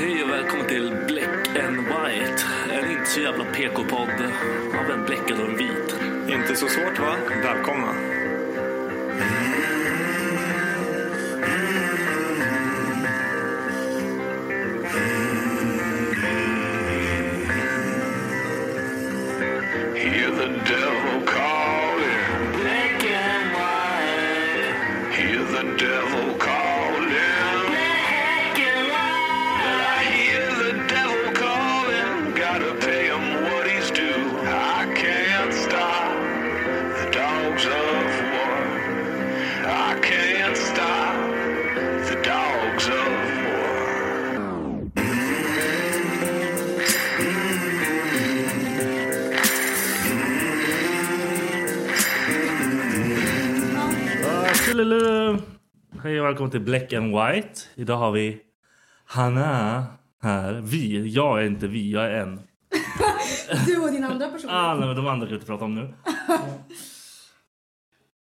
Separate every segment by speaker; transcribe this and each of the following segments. Speaker 1: Hej och välkommen till Black and White. En inte så jävla PK-podd av en bläckad och en vit.
Speaker 2: Inte så svårt va? Välkomna.
Speaker 3: Hear the devil calling. Black and white. Hear the devil calling. Black and white. I hear the devil calling. Gotta pay him what he's due. I can't stop the dogs of war. I can't stop the dogs of war.
Speaker 1: Ah, tjolilu. Hej och välkommen till Black and White. Idag har vi Hanna här. Vi, jag är inte vi, jag är en.
Speaker 4: Du och din andra person.
Speaker 1: Ah, nej, men de andra kan vi inte prata om nu.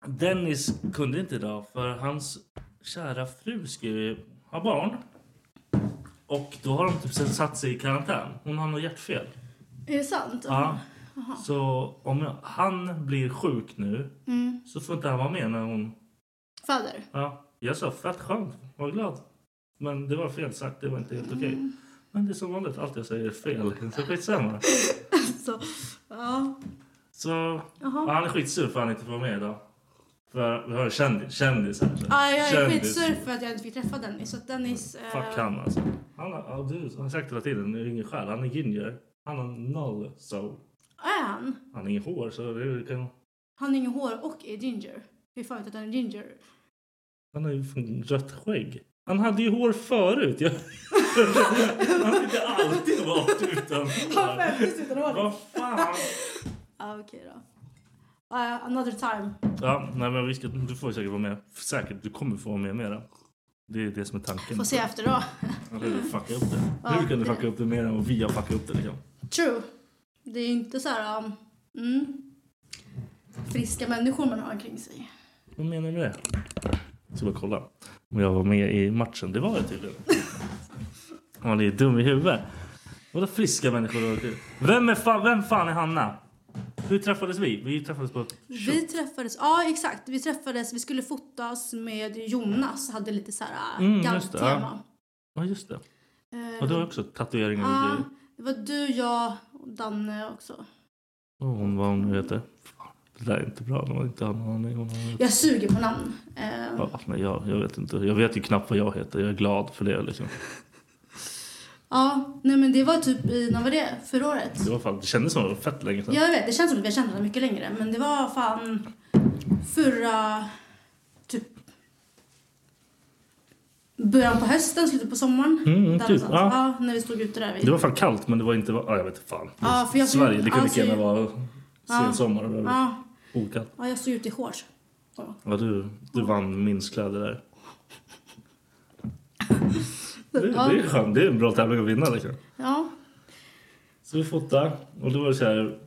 Speaker 1: Dennis kunde inte idag för hans kära fru ska ju ha barn. Och då har de typ satt sig i karantän. Hon har något hjärtfel.
Speaker 4: Är det sant?
Speaker 1: Ja. Så om jag, han blir sjuk nu
Speaker 4: Mm.
Speaker 1: så får inte han vara med när hon...
Speaker 4: Fader?
Speaker 1: Ja, jag sa fett skönt, var glad. Men det var fel sagt, det var inte helt okej.
Speaker 4: Mm.
Speaker 1: Men det är som vanligt, allt jag säger är fel. Så skitsamma.
Speaker 4: Så, Alltså, ja.
Speaker 1: Så ja, han är skitsur för att han inte får vara med idag. För vi har ju kändis, kändis här.
Speaker 4: ja, jag är
Speaker 1: Kändis.
Speaker 4: skitsur för att jag inte fick träffa Dennis. Så att Dennis... eh,
Speaker 1: Fuck han alltså. Han har, ja, du, han har sagt hela tiden, det är ingen själ, han är ginger. Han har noll soul.
Speaker 4: Är han?
Speaker 1: Han har inget hår så det kan...
Speaker 4: Han har inget hår och är ginger. Hur fan vet du att han är ginger?
Speaker 1: Han har ju fan rött skägg. Han hade ju hår förut. Jag... han har inte alltid varit utan
Speaker 4: Han
Speaker 1: hår.
Speaker 4: skämdes utan
Speaker 1: Vad
Speaker 4: håret.
Speaker 1: fan!
Speaker 4: Ja, okej då. Eh, another time.
Speaker 1: Ja, nej, men vi ska, du får säkert vara med. Säkert, du kommer få vara med mera. Det är det som är tanken.
Speaker 4: Får se efter då.
Speaker 1: Eller hur du fuckar upp det. Hur kan du fucka upp det mer än vad vi har fuckat upp det liksom?
Speaker 4: True. Det är ju inte så här... um, mm, friska människor man har omkring sig.
Speaker 1: Vad menar du med det? Jag ska bara kolla om jag var med i matchen. Det var jag tydligen. Man är ju dum i huvudet. Vadå friska människor? och kul? Vem, är fan, vem fan är Hanna? Hur träffades vi? Vi träffades på ett
Speaker 4: Vi träffades, ja exakt. Vi träffades, vi skulle fotas med Jonas. Hade lite så här eh,
Speaker 1: Mm, just det, ja.
Speaker 4: gaddtema.
Speaker 1: Ja, just det.
Speaker 4: Eh,
Speaker 1: Och du har också tatueringar och
Speaker 4: Ja,
Speaker 1: grejer.
Speaker 4: det var du, jag och Danne också.
Speaker 1: Och hon, vad hon nu heter. Fan, Det där är inte bra. De har inte har någon aning om vad hon heter.
Speaker 4: Jag suger på namn. Eh,
Speaker 1: Ja, men jag, jag vet inte. Jag vet ju knappt vad jag heter. Jag är glad för det liksom.
Speaker 4: Ja, nej men det var typ i, när var det? Förra året?
Speaker 1: Det, var fan, det kändes som det var fett länge sedan.
Speaker 4: Jag vet, det känns som att vi har känt varandra mycket längre. Men det var fan förra, typ början på hösten, slutet på sommaren.
Speaker 1: Mm, mm,
Speaker 4: Där
Speaker 1: typ,
Speaker 4: någonstans.
Speaker 1: ja.
Speaker 4: ja, när vi stod ute där. Vid.
Speaker 1: Det var fan kallt men det var inte... Ja, jag vet inte fan.
Speaker 4: Ja, för jag såg-
Speaker 1: Sverige, det kan
Speaker 4: alltså-
Speaker 1: lika gärna vara
Speaker 4: Ja.
Speaker 1: sen sommar. eller
Speaker 4: ja.
Speaker 1: Okallt.
Speaker 4: ja, jag stod ute i shorts.
Speaker 1: Ja, du, du vann minskläder där. Det,
Speaker 4: Ja.
Speaker 1: det är skönt. Det är en bra tävling att vinna. Liksom.
Speaker 4: Ja,
Speaker 1: Så vi fotade och då var det så här.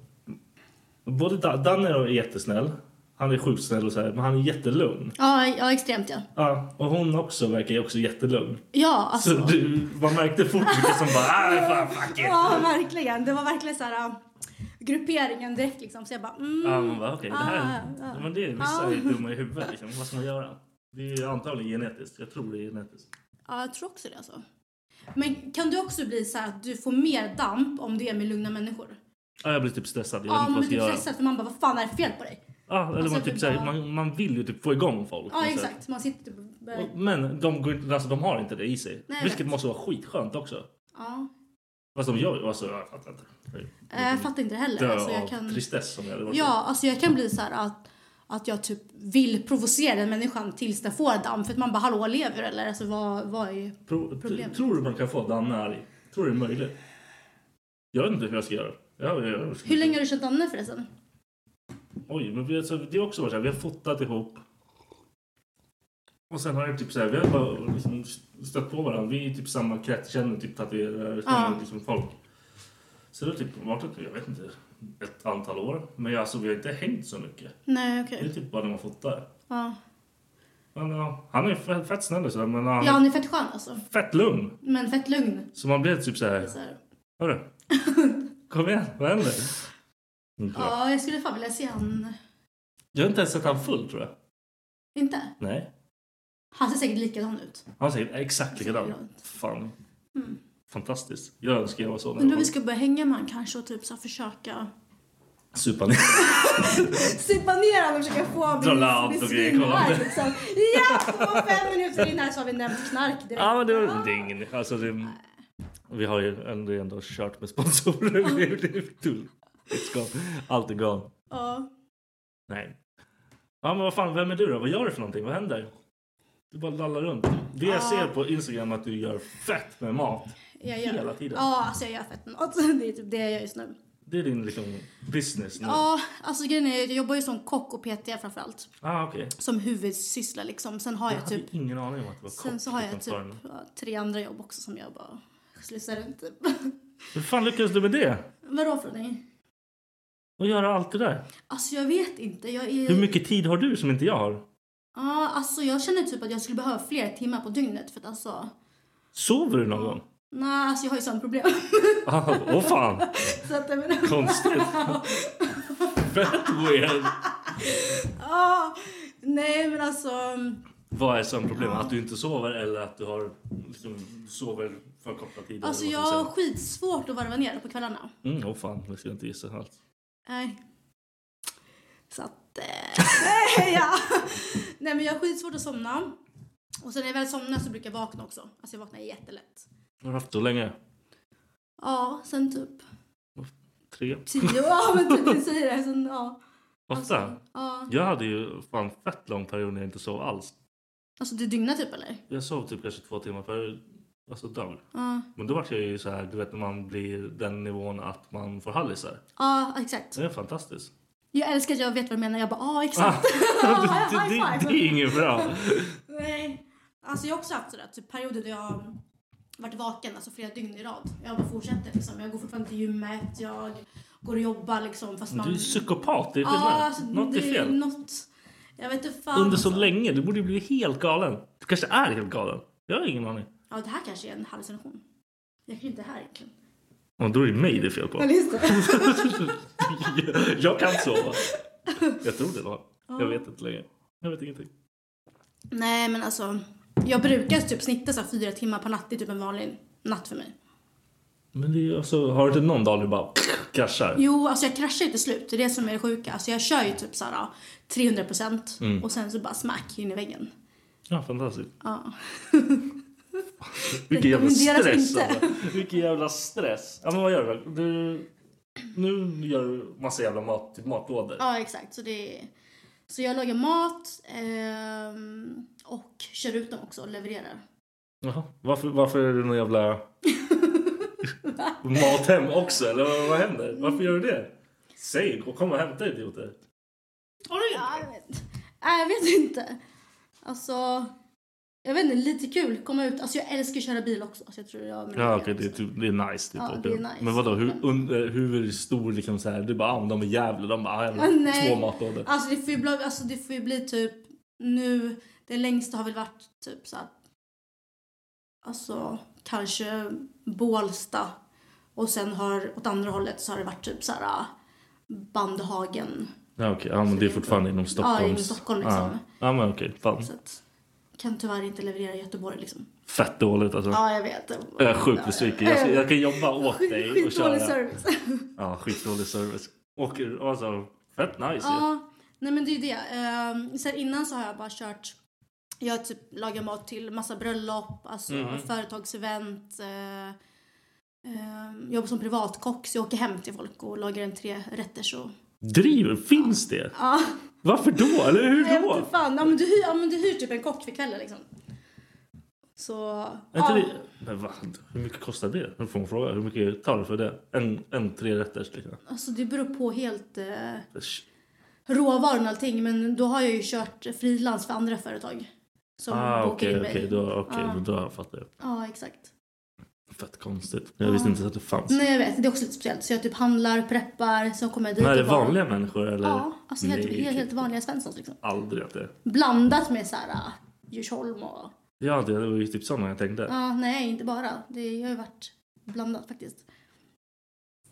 Speaker 1: Både Da- Danne är jättesnäll. Han är sjukt snäll och så här, men han är jättelugn.
Speaker 4: ja, ja extremt ja.
Speaker 1: Ja, och hon också verkar ju också jättelugn.
Speaker 4: Ja, alltså.
Speaker 1: Så du, man märkte fort vilka som bara ah, fan, fuck it.
Speaker 4: Ja, verkligen. Det var verkligen så här äh, grupperingen direkt liksom. Så jag bara mm.
Speaker 1: Ja, man bara okej, det här
Speaker 4: Ah, ah.
Speaker 1: Men det är vissa
Speaker 4: Ah.
Speaker 1: är dumma i huvudet liksom. Vad ska man göra? Det är ju antagligen genetiskt. Jag tror det är genetiskt.
Speaker 4: Ja, jag tror också det alltså. Men kan du också bli så här att du får mer damp om du är med lugna människor?
Speaker 1: Ja, jag blir typ stressad. Jag
Speaker 4: Ja,
Speaker 1: vet inte
Speaker 4: man
Speaker 1: vad jag
Speaker 4: blir
Speaker 1: ska
Speaker 4: typ
Speaker 1: göra.
Speaker 4: stressad för man bara vad fan är det fel på dig?
Speaker 1: Ja, eller
Speaker 4: Alltså,
Speaker 1: man, typ,
Speaker 4: typ
Speaker 1: såhär,
Speaker 4: bara-
Speaker 1: man, man vill ju typ få igång folk. på
Speaker 4: Ja,
Speaker 1: något sätt.
Speaker 4: exakt. Man sitter typ och börjar...
Speaker 1: Och- Men de, går inte- alltså, de har inte det i sig.
Speaker 4: Nej, jag
Speaker 1: vilket
Speaker 4: vet.
Speaker 1: måste vara skitskönt också.
Speaker 4: Ja.
Speaker 1: Fast de gör ju... Alltså, jag fattar inte.
Speaker 4: Eh, Jag fattar inte det heller.
Speaker 1: Dö
Speaker 4: Alltså,
Speaker 1: av
Speaker 4: jag kan...
Speaker 1: tristess om jag hade varit
Speaker 4: Ja, alltså jag kan bli så här att, att jag typ vill provocera den människan tills den får damp. För att man bara hallå lever du, eller? Alltså vad, vad är...
Speaker 1: Pro-
Speaker 4: Problem.
Speaker 1: Tror du man kan få Danne arg? Tror du det är möjligt? Jag vet inte hur jag ska göra. Jag, jag, jag,
Speaker 4: Hur länge har du känt Danne förresten?
Speaker 1: Oj, men vi, alltså, det är också varit så här, vi har fotat ihop. Och sen har det typ så här, vi har bara liksom stött på varandra. Vi är i typ samma krets, känner typ tatuerare, känner
Speaker 4: Ja.
Speaker 1: liksom folk. Så det har typ varit, ett- jag vet inte, ett antal år. Men jag, alltså, vi har inte hängt så mycket.
Speaker 4: Nej, okej.
Speaker 1: Det är typ bara när man fotar.
Speaker 4: Ja.
Speaker 1: Men, ja, han är ju fett, fett snäll och så, här, men han
Speaker 4: ja,
Speaker 1: är
Speaker 4: han är fett skön alltså.
Speaker 1: fett lugn.
Speaker 4: Men fett lugn.
Speaker 1: Så man blir typ så här,
Speaker 4: Så här.
Speaker 1: hörru, kom igen, vad händer? Inte bra.
Speaker 4: Ja, jag skulle fan vilja se han...
Speaker 1: Jag har inte ens sett han full tror jag.
Speaker 4: Inte?
Speaker 1: Nej,
Speaker 4: Han ser säkert likadan ut.
Speaker 1: han säger exakt likadan.
Speaker 4: Likadant.
Speaker 1: Fan,
Speaker 4: Mm.
Speaker 1: Fantastiskt. Jag önskar jag var så när jag
Speaker 4: Undrar om vi
Speaker 1: var
Speaker 4: ska börja hänga med han kanske och typ så här försöka...
Speaker 1: supa ner.
Speaker 4: Supa ner honom och försöka få
Speaker 1: Dra
Speaker 4: honom
Speaker 1: ladd och grejer, kolla.
Speaker 4: liksom. Ja! Om fem minuter in här så har vi nämnt knark direkt. Ah.
Speaker 1: ja, men det var det är ingen... Alltså, det, vi har ju ändå, ändå kört med sponsorer. Det är- det är tull. It's gone. Allt är gone.
Speaker 4: Ja.
Speaker 1: Nej. Ja, men vad fan, vem är du då? Vad gör du för någonting? Vad händer? Du bara lallar runt. Det jag ser på Instagram är att du gör fett med mat.
Speaker 4: Jag gör,
Speaker 1: Hela tiden.
Speaker 4: Ja, alltså jag gör fett mat. Det är typ det jag gör just nu.
Speaker 1: Det är din liksom business nu.
Speaker 4: Ja, alltså grejen är jag jobbar ju som kock och PT framförallt.
Speaker 1: Ah, okej.
Speaker 4: Som huvudsyssla liksom. Sen har
Speaker 1: Jag
Speaker 4: jag
Speaker 1: hade
Speaker 4: typ,
Speaker 1: ingen aning om att det var
Speaker 4: sen
Speaker 1: kock
Speaker 4: så har jag
Speaker 1: utan
Speaker 4: typ
Speaker 1: förrän-
Speaker 4: ja, tre andra jobb också som jag bara slussar runt typ.
Speaker 1: Hur fan lyckades du med det?
Speaker 4: Vadå för någonting?
Speaker 1: Och göra allt det där?
Speaker 4: Alltså jag vet inte. Jag är...
Speaker 1: Hur mycket tid har du som inte jag har?
Speaker 4: Ja, alltså jag känner typ att jag skulle behöva fler timmar på dygnet för att alltså...
Speaker 1: Sover du någon gång?
Speaker 4: Nej, alltså jag har ju sömnproblem.
Speaker 1: Ah, Åh fan!
Speaker 4: så att jag menar...
Speaker 1: Konstigt. Fett weird.
Speaker 4: Ja, nej men alltså...
Speaker 1: Vad är sömnproblemet? Att du inte sover eller att du har, liksom, sover för korta tider?
Speaker 4: Alltså
Speaker 1: eller
Speaker 4: jag
Speaker 1: vad man
Speaker 4: har skitsvårt att varva ner på kvällarna.
Speaker 1: säger. Mm, åh fan, jag ska inte gissa alls.
Speaker 4: Nej. Så att... Eh, ja. Nej men jag har skitsvårt att somna. Och sen när jag väl somnar så brukar jag vakna också. Alltså jag vaknar jättelätt.
Speaker 1: Har du haft så länge?
Speaker 4: Ja, sen typ
Speaker 1: Tre?
Speaker 4: tio. Ja men typ du säger det. Sen, ja. Alltså,
Speaker 1: Ofta?
Speaker 4: ja.
Speaker 1: Jag hade ju fan fett lång period när jag inte sov alls.
Speaker 4: Alltså du dygnar typ eller?
Speaker 1: Jag sov typ kanske två timmar per alltså, dag.
Speaker 4: Ja.
Speaker 1: Men då var jag ju så här, du vet när man blir den nivån att man får hallisar.
Speaker 4: Ja, exakt.
Speaker 1: Det är fantastiskt.
Speaker 4: Jag älskar att jag vet vad du menar. Jag bara, ja ah, exakt.
Speaker 1: Ah, det, det,
Speaker 4: High
Speaker 1: det,
Speaker 4: five.
Speaker 1: det är inget bra.
Speaker 4: Nej. Alltså jag har också haft sådär, typ perioder där jag har varit vaken alltså flera dygn i rad. Jag bara fortsätter liksom. Jag går fortfarande till gymmet, jag går och jobbar liksom fast man...
Speaker 1: Du är psykopat, det är
Speaker 4: Ja,
Speaker 1: skillnad.
Speaker 4: alltså,
Speaker 1: Något är
Speaker 4: det
Speaker 1: fel.
Speaker 4: Något... Jag vet inte fan.
Speaker 1: Under så
Speaker 4: alltså.
Speaker 1: länge. Du borde ju bli helt galen. Du kanske är helt galen. Jag har ingen aning.
Speaker 4: Ja, det här kanske är en hallucination. Jag kanske inte är här egentligen.
Speaker 1: Ja, då är det mig det är fel
Speaker 4: Ja,
Speaker 1: på.
Speaker 4: just det.
Speaker 1: jag kan sova. Jag tror det då. Jag vet inte längre. Jag vet ingenting.
Speaker 4: Nej, men alltså. Jag brukar typ snitta så här fyra timmar per natt. Det är typ en vanlig natt för mig.
Speaker 1: Men det är ju alltså, har du inte någon dag du bara kraschar?
Speaker 4: Jo, alltså jag kraschar ju till slut. Det är det som är det sjuka. Alltså jag kör ju typ så här 300 procent och sen så bara smack in i väggen.
Speaker 1: Mm. Ja, fantastiskt.
Speaker 4: Ja.
Speaker 1: Vilken jävla
Speaker 4: Rekommenderas
Speaker 1: stress
Speaker 4: inte.
Speaker 1: alltså. Vilken jävla stress. Ja, men vad gör du då? Du... Nu gör du massa jävla mat, typ matlådor.
Speaker 4: Ja, exakt. Så, det är... så jag lagar mat ehm, och kör ut dem också och levererar.
Speaker 1: Jaha. Varför, varför är du någon jävla mathem också? Eller vad, vad händer? Varför gör du det? Säg och kom och hämta idioter.
Speaker 4: Har du gjort det? Nej, jag vet inte. Alltså, jag vet inte, lite kul. Komma ut. Alltså jag älskar att köra bil också. Så jag tror jag
Speaker 1: Ja okej det, är typ, det är nice. Typ.
Speaker 4: Ja, det är nice.
Speaker 1: Men vadå hur, under, hur stor liksom så här, du bara ah, men de är jävla de bara ah, jävla,
Speaker 4: Ah, nej.
Speaker 1: två matlådor.
Speaker 4: Alltså det får ju bli, alltså, det får ju bli typ nu, det längsta har väl varit typ så att alltså kanske Bålsta och sen har åt andra hållet så har det varit typ så här ah, Bandhagen.
Speaker 1: Ja okej, ja, men det är fortfarande inom Stockholms...
Speaker 4: Ja, inom Stockholm liksom.
Speaker 1: Ja, ja men okej, fan.
Speaker 4: Så att, kan tyvärr inte leverera i Göteborg liksom.
Speaker 1: Fett dåligt alltså.
Speaker 4: Ja, jag vet.
Speaker 1: Jag är sjukt besviken. Jag, ska- jag kan jobba åt dig och köra.
Speaker 4: Skitdålig service.
Speaker 1: Ja, skitdålig service. Och alltså, fett nice ju.
Speaker 4: Ja, nej men det är ju det. Ehm, sen innan så har jag bara kört, jag har typ lagat mat till massa bröllop, alltså
Speaker 1: Mm.
Speaker 4: företagsevent. eh, ehm, jobbar som privatkock så jag åker hem till folk och lagar en tre rätter och
Speaker 1: Driver? Finns det?
Speaker 4: Ja,
Speaker 1: Varför då? Eller hur
Speaker 4: jag
Speaker 1: då?
Speaker 4: vet inte fan. Ja men, du hyr, ja men du hyr typ en kock för kvällen liksom. Så,
Speaker 1: Är inte
Speaker 4: ja.
Speaker 1: det... Men vad? Hur mycket kostar det? Nu får man fråga. Hur mycket tar du för det? En, en trerätters liksom?
Speaker 4: Alltså det beror på helt eh, råvaran och allting men då har jag ju kört frilans för andra företag. Som
Speaker 1: Ah,
Speaker 4: bokar
Speaker 1: okej,
Speaker 4: in mig.
Speaker 1: okej. Då, okay,
Speaker 4: Ja.
Speaker 1: då fattar jag.
Speaker 4: Ja, exakt.
Speaker 1: Fett konstigt. Jag visste inte att det fanns.
Speaker 4: Nej jag vet, det är också lite speciellt. Så jag typ handlar, preppar, sen kommer jag dit
Speaker 1: Men är det
Speaker 4: och bara-
Speaker 1: vanliga människor eller?
Speaker 4: Ja, alltså helt,
Speaker 1: Nej,
Speaker 4: helt, helt vanliga svenssons liksom.
Speaker 1: Aldrig att det...
Speaker 4: Blandat med såhär äh, Djursholm och...
Speaker 1: Ja, det var ju typ sådana jag tänkte.
Speaker 4: Ja, nej inte bara. Det har ju varit blandat faktiskt.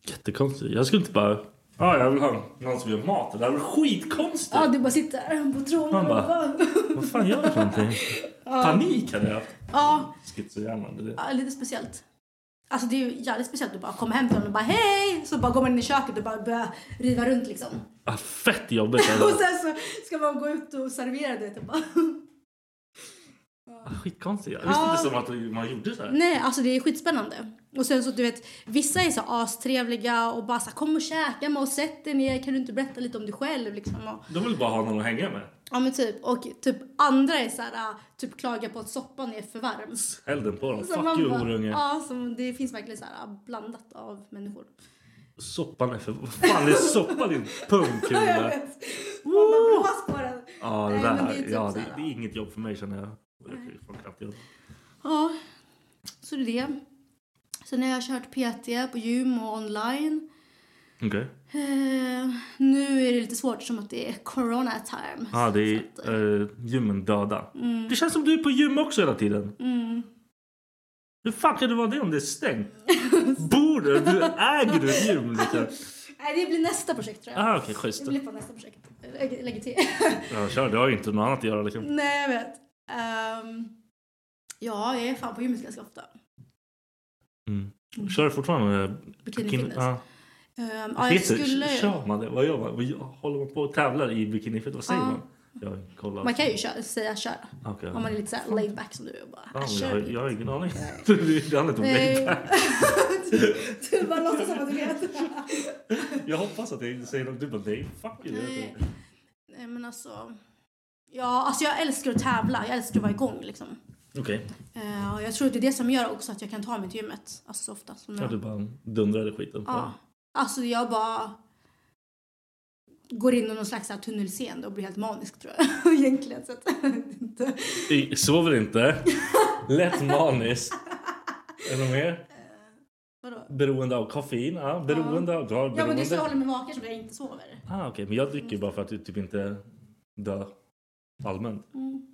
Speaker 1: Jättekonstigt. Jag skulle inte bara... Ja, ah, jag vill ha någon som gör mat. Det där är väl skitkonstigt?
Speaker 4: Ja, du bara sitter här på tronen
Speaker 1: Man bara-
Speaker 4: och bara...
Speaker 1: Vad fan gör du för någonting? Panik hade jag haft.
Speaker 4: Ja,
Speaker 1: Schizohjärnan. det är det.
Speaker 4: ja, lite speciellt. Alltså det är ju jävligt speciellt att bara komma hem till honom och bara hej! Så bara går man in i köket och bara börjar riva runt liksom.
Speaker 1: Ah, fett jobbigt.
Speaker 4: Och
Speaker 1: Alltså.
Speaker 4: sen så ska man gå ut och servera det och bara...
Speaker 1: Ah, Skitkonstigt. Jag visste
Speaker 4: Ja.
Speaker 1: inte som att man gjorde så här.
Speaker 4: Nej, alltså det är skitspännande. Och sen så du vet, vissa är så astrevliga och bara så här, kom och käka med oss, sätt dig ner, kan du inte berätta lite om dig själv liksom? Och,
Speaker 1: De vill bara ha någon att hänga med.
Speaker 4: ja men typ, och typ andra är så här, äh, typ klagar på att soppan är för varm.
Speaker 1: Häll den på dem.
Speaker 4: Så
Speaker 1: Fuck
Speaker 4: man
Speaker 1: you
Speaker 4: bara-
Speaker 1: horunge.
Speaker 4: Ja, så det finns verkligen så här äh, blandat av människor.
Speaker 1: Soppan är för... Vad fan är soppa din punkhuvud?
Speaker 4: Man bara blås på den.
Speaker 1: Ja, det
Speaker 4: Nej, men det är
Speaker 1: där.
Speaker 4: typ
Speaker 1: Ja,
Speaker 4: så
Speaker 1: det,
Speaker 4: här.
Speaker 1: det är inget jobb för mig känner jag. Jag får knappt jobb.
Speaker 4: Ja, så det är det. Sen har jag kört PT på gym och online.
Speaker 1: Okej.
Speaker 4: Eh, nu är det lite svårt som att det är corona time.
Speaker 1: Ja, det är eh, gymmen döda. Det känns som du är på gym också hela tiden.
Speaker 4: Mm.
Speaker 1: Hur fan kan det vara det om det är stängt? Bor du? Du äger du ett gym liksom?
Speaker 4: Nej, det blir nästa projekt tror jag.
Speaker 1: Ah, okej, schysst.
Speaker 4: Det blir på nästa projekt. Lägg, lägg till.
Speaker 1: Ja, kör. Du har ju inte något annat att göra liksom.
Speaker 4: Nej, jag vet. Ehm, ja, jag är fan på gymmet ganska ofta.
Speaker 1: Mm. Kör du fortfarande? eh,
Speaker 4: Bikini
Speaker 1: bikin-
Speaker 4: fitness.
Speaker 1: ja.
Speaker 4: Ehm, ja, jag
Speaker 1: Heter-
Speaker 4: skulle...
Speaker 1: Kör man det? Vad gör man? Vad gör- Håller man på och tävlar i bikinifit? Vad säger
Speaker 4: Ja.
Speaker 1: man? Jag kollar.
Speaker 4: Man kan ju köra, säga köra.
Speaker 1: Okej.
Speaker 4: Om man är lite såhär laid back som du är och bara...
Speaker 1: Ja, men
Speaker 4: "Äh,
Speaker 1: jag,
Speaker 4: kör
Speaker 1: har-
Speaker 4: lite."
Speaker 1: jag har ingen aning. Det handlar inte om
Speaker 4: Nej.
Speaker 1: mig.
Speaker 4: Du bara låtsas som att du vet.
Speaker 1: Jag hoppas att jag inte säger något. Du bara nej, fuck you.
Speaker 4: Nej. Nej, men alltså... Ja, alltså jag älskar att tävla. Jag älskar att vara igång liksom.
Speaker 1: Okej.
Speaker 4: Eh, och jag tror att det är det som gör också att jag kan ta mig till gymmet. Alltså så ofta som
Speaker 1: Ja,
Speaker 4: jag...
Speaker 1: du bara dundrade skiten på
Speaker 4: Ja. Alltså jag bara går in i någon slags så här tunnelseende och blir helt manisk tror jag. Egentligen. Så att, inte.
Speaker 1: I- Sover inte. Lätt maniskt. Är det något mer?
Speaker 4: Eh, Vadå?
Speaker 1: Beroende av koffein. Ja, beroende av... Du har
Speaker 4: Ja men det är så
Speaker 1: beroende.
Speaker 4: jag håller mig vaken som jag inte sover.
Speaker 1: ah, okej. Men jag dricker ju bara för att du typ inte dör allmänt.
Speaker 4: Mm.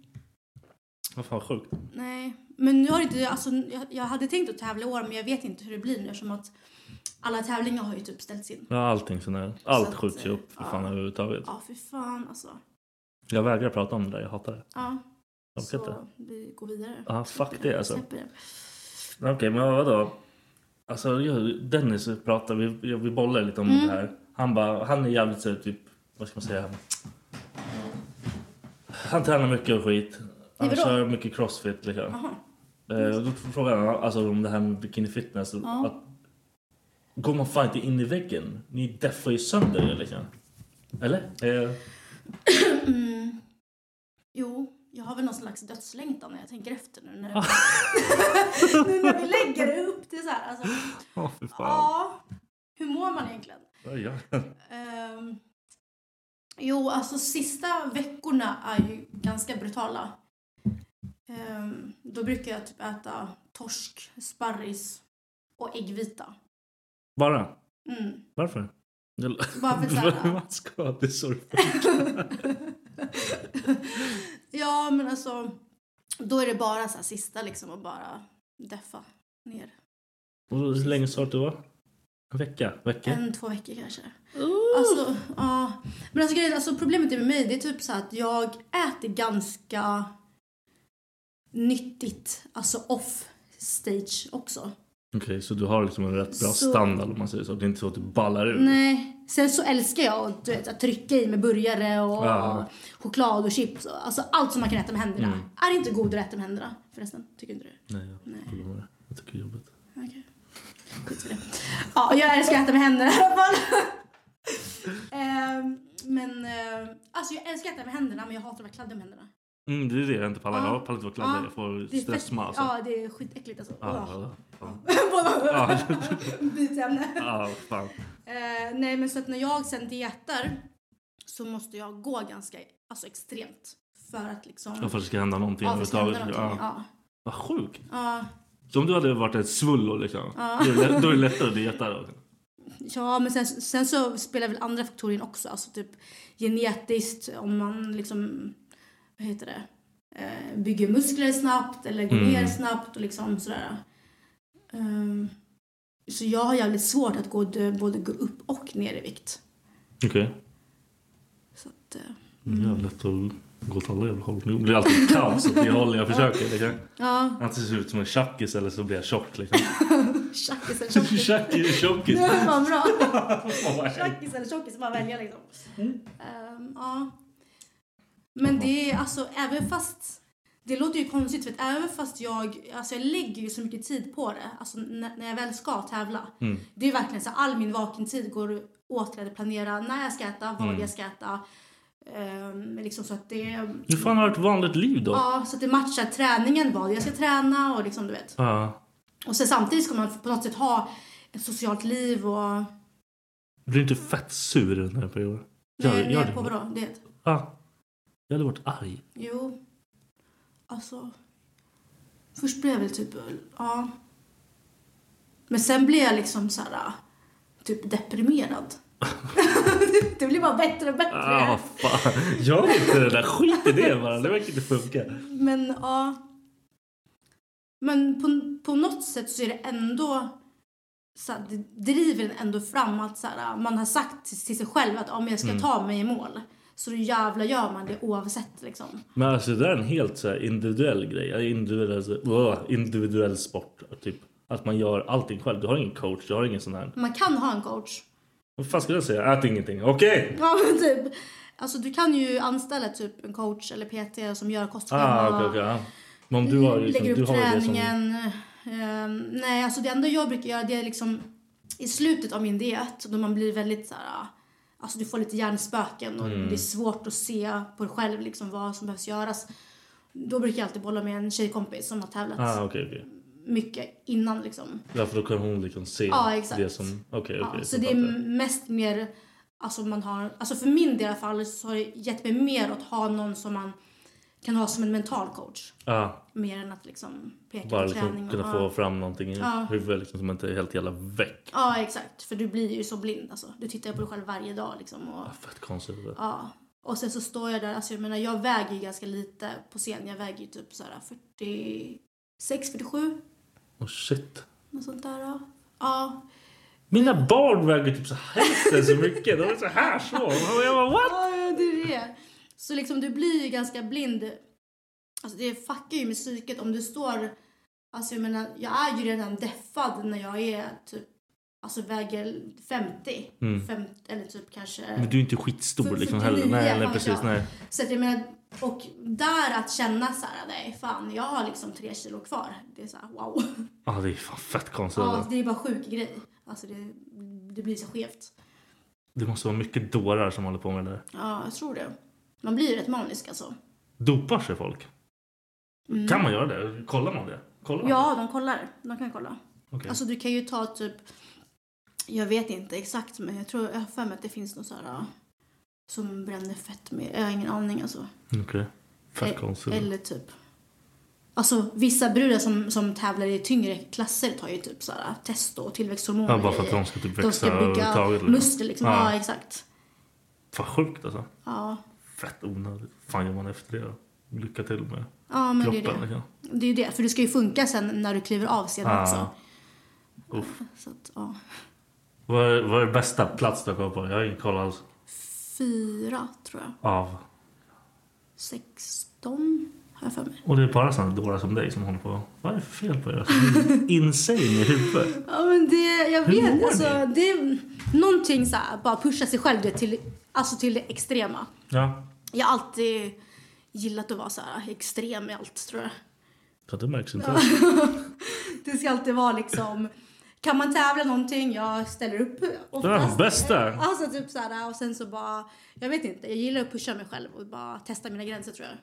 Speaker 1: Vad fan sjukt.
Speaker 4: Nej. Men nu har inte, alltså jag, jag hade tänkt att tävla i år men jag vet inte hur det blir nu eftersom att alla tävlingar har ju typ ställts in.
Speaker 1: Ja, allting sån här. Allt
Speaker 4: att,
Speaker 1: skjuts ju upp för
Speaker 4: ja.
Speaker 1: fan överhuvudtaget.
Speaker 4: Ja fy fan alltså.
Speaker 1: Jag vägrar prata om det där. Jag hatar det.
Speaker 4: Ja.
Speaker 1: Jag orkar inte.
Speaker 4: Så vi går vidare.
Speaker 1: Ja, fuck det alltså.
Speaker 4: Släpper det.
Speaker 1: Okej, men vadå? Alltså, jag- Dennis pratade, vi, vi bollade lite om
Speaker 4: Mm.
Speaker 1: det här. Han, bara, han är jävligt så här, typ, vad ska man säga? Han tränar mycket och skit. Han
Speaker 4: Nej, vadå?
Speaker 1: kör mycket crossfit liksom.
Speaker 4: Jaha.
Speaker 1: Eh, då frågade han alltså, om det här med bikini fitness. Att, går man fan inte in i väggen? Ni deffar ju sönder er liksom. Eller? Eh,
Speaker 4: Mm. Jo. Jag har väl någon slags dödslängtan när jag tänker efter nu. När, nu när vi lägger upp det så här. Alltså,
Speaker 1: Åh fy fan.
Speaker 4: ja, hur mår man egentligen?
Speaker 1: Vad gör
Speaker 4: Ehm, jo, alltså sista veckorna är ju ganska brutala. Ehm, då brukar jag typ äta torsk, sparris och äggvita.
Speaker 1: Bara?
Speaker 4: Mm.
Speaker 1: Varför?
Speaker 4: Bara för att såhär-
Speaker 1: Man ska ha det så.
Speaker 4: ja, men alltså då är det bara så här sista liksom och bara deffa ner.
Speaker 1: Och hur länge sa du att det var? En vecka? Vecka?
Speaker 4: En, två veckor kanske. Alltså, ja. Men alltså, grejen, alltså problemet är med mig, det är typ så att jag äter ganska nyttigt, alltså off stage också.
Speaker 1: Okej, så du har liksom en rätt bra
Speaker 4: Så-
Speaker 1: standard om man säger så. Det är inte så att du ballar ur.
Speaker 4: Nej, sen så älskar jag du vet, att trycka i med burgare och
Speaker 1: Ja.
Speaker 4: choklad och chips. Och, alltså allt som man kan äta med händerna.
Speaker 1: Mm.
Speaker 4: Är det inte god att äta med händerna förresten? Tycker inte du?
Speaker 1: Nej, jag håller med. Jag tycker det är jobbigt.
Speaker 4: Okej. Skit i det. Ja, jag älskar att äta med händerna i alla fall. Ehm, men eh, alltså jag älskar att äta med händerna men jag hatar att vara kladdig med händerna.
Speaker 1: Mm, det är det jag inte pallar.
Speaker 4: Ja.
Speaker 1: Jag pallar inte vara kladdig. Jag får
Speaker 4: Det är
Speaker 1: stress
Speaker 4: fett-
Speaker 1: med alltså. Ah,
Speaker 4: Ja, det är skitäckligt alltså.
Speaker 1: Ja, ja,
Speaker 4: Ja.
Speaker 1: ja.
Speaker 4: Bitämne.
Speaker 1: Ja, fan.
Speaker 4: Eh, nej men så att när jag sen dietar så måste jag gå ganska alltså extremt för att liksom
Speaker 1: Ja, för att det ska hända någonting
Speaker 4: Ja, för att det ska hända
Speaker 1: överhuvudtaget.
Speaker 4: någonting.
Speaker 1: Ja.
Speaker 4: Ja.
Speaker 1: Vad sjukt.
Speaker 4: Ja.
Speaker 1: Så om du hade varit ett svullo liksom.
Speaker 4: Ja.
Speaker 1: det är lätt- Då är det lättare att dieta då.
Speaker 4: Ja, men sen, sen så spelar väl andra faktorer in också. Alltså typ genetiskt, om man liksom, vad heter det, eh, bygger muskler snabbt eller går
Speaker 1: Mm.
Speaker 4: ner snabbt och liksom sådär. Ehm, så jag har jävligt svårt att gå, både gå upp och ner i vikt.
Speaker 1: Okej.
Speaker 4: Så att, eh,
Speaker 1: Mm. Jag är lätt att gå åt alla jävla håll. Det blir alltid kaos åt det håll jag försöker. Liksom.
Speaker 4: ja,
Speaker 1: Antingen ser jag ut som en tjackis eller så blir jag tjock. Liksom.
Speaker 4: tjackis eller tjockis.
Speaker 1: Tjackis, tjockis.
Speaker 4: Det var fan bra.
Speaker 1: Åh, vad hemskt.
Speaker 4: Tjackis eller tjockis, man väljer liksom.
Speaker 1: Mm.
Speaker 4: Ehm, ja. Men det är alltså, även fast... Det låter ju konstigt för att även fast jag, alltså jag lägger ju så mycket tid på det, alltså när, när jag väl ska tävla.
Speaker 1: Mm.
Speaker 4: Det är verkligen så här, all min vakentid går åt till att planera när jag ska äta, vad
Speaker 1: Mm.
Speaker 4: jag ska äta. Ehm, liksom så att det...
Speaker 1: Hur fan har du ett vanligt liv då?
Speaker 4: Ja, så att det matchar träningen, vad jag ska träna och liksom du vet.
Speaker 1: Ja.
Speaker 4: Och sen samtidigt ska man på något sätt ha ett socialt liv och...
Speaker 1: Blir du inte fett sur i den här perioden? Gör-
Speaker 4: Nej,
Speaker 1: gör
Speaker 4: nej,
Speaker 1: det.
Speaker 4: på vadå? Det.
Speaker 1: Ja. Jag hade varit arg.
Speaker 4: Jo. Alltså. Först blev jag väl typ, ja. Men sen blev jag liksom så här, typ deprimerad. det blev bara bättre och bättre.
Speaker 1: Ah, fan. Jag vet inte det där. Skit i det bara. Det verkar inte funka.
Speaker 4: Men ja. Men på, på något sätt så är det ändå så här, det driver en ändå fram att så här, man har sagt till, till sig själv att om jag ska ta mig i mål så då jävla gör man det oavsett liksom.
Speaker 1: Men alltså det där är en helt så här individuell grej. Eller Individuell, alltså, åh, individuell sport. Typ. Att man gör allting själv. Du har ingen coach, du har ingen sån här...
Speaker 4: Man kan ha en coach.
Speaker 1: Vad fan skulle jag säga? Ät ingenting. Okej!
Speaker 4: Ja, men typ. Alltså du kan ju anställa typ en coach eller PT som gör
Speaker 1: Ah,
Speaker 4: kostschema,
Speaker 1: okej, okej. ja. Men om du har, liksom,
Speaker 4: lägger
Speaker 1: du
Speaker 4: upp
Speaker 1: har ju det som...
Speaker 4: träningen. Ehm, nej, alltså det enda jag brukar göra det är liksom i slutet av min diet då man blir väldigt så här, alltså du får lite hjärnspöken och
Speaker 1: Mm.
Speaker 4: det är svårt att se på dig själv liksom vad som behövs göras. Då brukar jag alltid bolla med en tjejkompis som har tävlat
Speaker 1: Ah, okej, okej.
Speaker 4: mycket innan liksom.
Speaker 1: Ja, för då kan hon liksom se
Speaker 4: Ja, exakt.
Speaker 1: det som... Okej, okej.
Speaker 4: Ja, så
Speaker 1: jag
Speaker 4: det är
Speaker 1: fattar.
Speaker 4: mest mer, alltså man har, alltså för min del i alla fall så har det gett mig mer att ha någon som man kan ha som en mental coach.
Speaker 1: ah,
Speaker 4: Mer än att liksom peka
Speaker 1: bara
Speaker 4: på träning.
Speaker 1: liksom
Speaker 4: och-
Speaker 1: kunna få
Speaker 4: ja.
Speaker 1: fram någonting i
Speaker 4: Ja.
Speaker 1: huvudet liksom, som inte är helt jävla väck.
Speaker 4: ja, exakt. För du blir ju så blind alltså. Du tittar ju på dig själv varje dag liksom. Och,
Speaker 1: Ah, fett konstigt. det där.
Speaker 4: ja. och sen så står jag där, alltså jag menar jag väger ju ganska lite på scen. Jag väger ju typ såhär 46, 47,
Speaker 1: Åh Oh, shit.
Speaker 4: något sånt där. Ja. ja.
Speaker 1: Mina barn väger typ så hälften så mycket. De är så här små. Och jag bara what?
Speaker 4: Ja, ja, det är det. Så liksom du blir ju ganska blind. Alltså det fuckar ju med psyket om du står... Alltså jag menar, jag är ju redan deffad när jag är typ... Alltså väger 50.
Speaker 1: Mm.
Speaker 4: 50 eller typ kanske...
Speaker 1: Men du är inte skitstor
Speaker 4: 49,
Speaker 1: liksom heller. Nej, nej
Speaker 4: fan,
Speaker 1: precis.
Speaker 4: ja.
Speaker 1: Nej.
Speaker 4: Så att jag menar, och där att känna så här, nej fan, jag har liksom tre kilo kvar. Det är så här, wow.
Speaker 1: Ja, ah, det är fan fett konstigt.
Speaker 4: Ja,
Speaker 1: det...
Speaker 4: det är bara sjuk grej. Alltså det, det blir så skevt.
Speaker 1: det måste vara mycket dårar som håller på med det där.
Speaker 4: Ja, jag tror det. Man blir ju rätt manisk alltså.
Speaker 1: Dopar sig folk?
Speaker 4: Mm.
Speaker 1: Kan man göra det? Kollar man det? Kollar man
Speaker 4: Ja, de kollar. De kan kolla.
Speaker 1: Okej.
Speaker 4: Alltså du kan ju ta typ, jag vet inte exakt men jag tror, jag har för mig att det finns någon så här äh, som bränner fett med, jag har ingen aning alltså.
Speaker 1: det? Okej. Fett
Speaker 4: E-
Speaker 1: konstigt.
Speaker 4: Eller typ, alltså vissa brudar som, som tävlar i tyngre klasser tar ju typ så här test och tillväxthormoner.
Speaker 1: Ja, bara för att
Speaker 4: i-
Speaker 1: de ska typ
Speaker 4: De
Speaker 1: växa
Speaker 4: ska bygga
Speaker 1: överhuvudtaget, liksom.
Speaker 4: muskler liksom.
Speaker 1: Ja.
Speaker 4: Ja. exakt.
Speaker 1: Fan sjukt alltså.
Speaker 4: Ja.
Speaker 1: Fett onödigt. fan gör man efter det då? Lycka till med
Speaker 4: ja, men det är
Speaker 1: kroppen.
Speaker 4: det.
Speaker 1: liksom.
Speaker 4: Det är ju det, för du ska ju funka sen när du kliver av scenen
Speaker 1: Ja.
Speaker 4: också.
Speaker 1: Uff.
Speaker 4: Så att, ja.
Speaker 1: Vad är, vad är bästa plats du har kollat på? Jag har ingen koll alls.
Speaker 4: Fyra tror jag.
Speaker 1: Av.
Speaker 4: 16 har jag för mig.
Speaker 1: Och det är bara sådana dårar som dig som håller på. Vad är det för fel på er? Alltså, ni är Insane i huvudet.
Speaker 4: Ja men det, jag
Speaker 1: Hur
Speaker 4: vet
Speaker 1: mår
Speaker 4: alltså det är någonting så här, bara pusha sig själv det till, alltså till det extrema.
Speaker 1: Ja.
Speaker 4: Jag har alltid gillat att vara så här extrem i allt tror jag.
Speaker 1: Så det märks inte.
Speaker 4: Det ska alltid vara liksom, kan man tävla någonting, jag ställer upp oftast.
Speaker 1: Det är den bästa.
Speaker 4: Alltså typ så här och sen så bara, jag vet inte, jag gillar att pusha mig själv och bara testa mina gränser tror jag.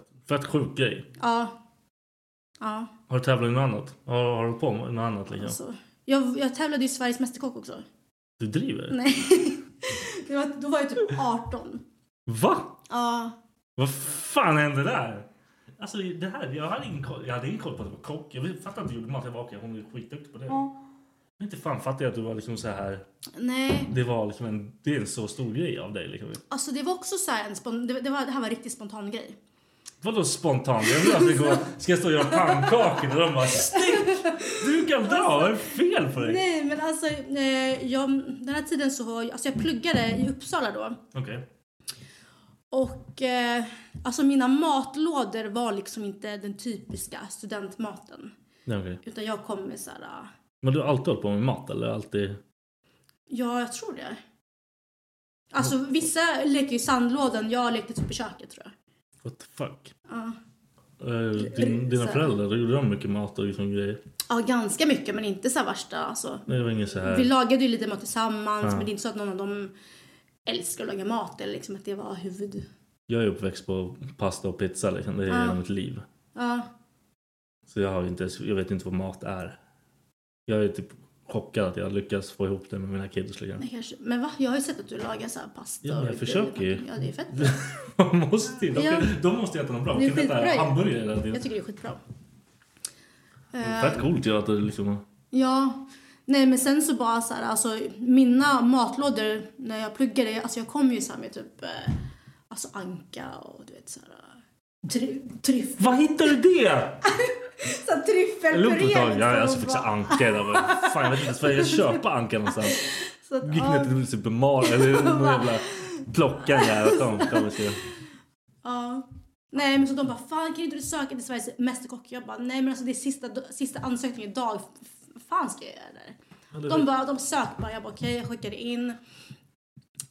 Speaker 1: Fett, fett sjuk grej.
Speaker 4: Ja. Ja.
Speaker 1: Har du tävlat i något annat? Har, har du hållit på med något annat liksom?
Speaker 4: Alltså, jag, jag tävlade i Sveriges Mästerkock också.
Speaker 1: Du driver?
Speaker 4: Nej. Det var, då var jag typ 18.
Speaker 1: Va?
Speaker 4: Ja.
Speaker 1: Vad fan hände där? Alltså det här, jag hade ingen koll, jag hade ingen koll på att du var kock. Jag fattade inte hur du gjorde mat. Jag var okej, hon är skitduktig på det. Men inte fan fattade jag att du var liksom så här.
Speaker 4: Nej.
Speaker 1: Det var liksom en, det är en så stor grej av dig liksom.
Speaker 4: Alltså det var också så här en spon- det, det, var, det här var en riktigt spontan grej.
Speaker 1: Vadå spontant? Jag vill att det går, ska jag stå och göra pannkakor och de bara stick! Du kan dra, vad är det fel på dig?
Speaker 4: Nej men alltså eh, jag, den här tiden så har jag, alltså jag pluggade i Uppsala då.
Speaker 1: Okej.
Speaker 4: Och eh, alltså mina matlådor var liksom inte den typiska studentmaten.
Speaker 1: Nej, okej.
Speaker 4: Utan jag kom med så här, eh,
Speaker 1: Men du har alltid hållit på med mat eller alltid?
Speaker 4: ja jag tror det. Alltså vissa leker ju i sandlådan, jag lekte typ i köket tror jag.
Speaker 1: What the fuck?
Speaker 4: Ja.
Speaker 1: Eh, Din,
Speaker 4: Så
Speaker 1: dina
Speaker 4: här.
Speaker 1: föräldrar, gjorde de mycket mat och liksom grejer?
Speaker 4: Ja, ganska mycket men inte så här värsta alltså.
Speaker 1: Nej, det var ingen så här...
Speaker 4: Vi lagade ju lite mat tillsammans
Speaker 1: Eh. Ja.
Speaker 4: men det är inte så att någon av dem älskar att laga mat eller liksom att det var huvud...
Speaker 1: Jag är uppväxt på pasta och pizza liksom. Det är
Speaker 4: Ja.
Speaker 1: hela mitt liv.
Speaker 4: Ja,
Speaker 1: Så jag, har ju inte, ens- jag vet inte vad mat är. Jag är typ chockad att jag lyckas få ihop det med mina kids. Liksom.
Speaker 4: nej kanske. Men va? Jag har ju sett att du lagar så här pasta
Speaker 1: Ja, men
Speaker 4: och grejer.
Speaker 1: jag försöker ju. Mm.
Speaker 4: Ja, det är fett.
Speaker 1: De måste ju, de,
Speaker 4: Ja.
Speaker 1: de måste ju äta något bra.
Speaker 4: Det är
Speaker 1: Kan inte
Speaker 4: skitbra ju.
Speaker 1: äta hamburgare hela tiden.
Speaker 4: Jag tycker det är skitbra. Eh,
Speaker 1: Fett coolt ju att det liksom...
Speaker 4: Ja. Nej men sen så bara så här, alltså mina matlådor när jag pluggade, alltså jag kom ju så här med typ eh, alltså anka och du vet så här try- tryff,
Speaker 1: Vad hittar du det?
Speaker 4: så här
Speaker 1: Jag låg på
Speaker 4: tryffelpuré
Speaker 1: ett tag.
Speaker 4: liksom,
Speaker 1: Jag alltså,
Speaker 4: och
Speaker 1: fixa
Speaker 4: bara-
Speaker 1: anka. Jag bara, Fan, jag vet inte ens var jag ska köpa anka någonstans.
Speaker 4: så att,
Speaker 1: Gick
Speaker 4: ja.
Speaker 1: ner till Super Mario typ, eller någon
Speaker 4: Va?
Speaker 1: jävla klockan där. Och de kom och skulle-
Speaker 4: Ja. Nej men så de bara fan kan inte du söka till Sveriges Mästerkock? Jag bara nej men alltså det är sista, sista ansökningen idag. F- f- fan ska jag göra det?
Speaker 1: det-
Speaker 4: De bara, de sökte bara. Jag bara okej jag skickade in.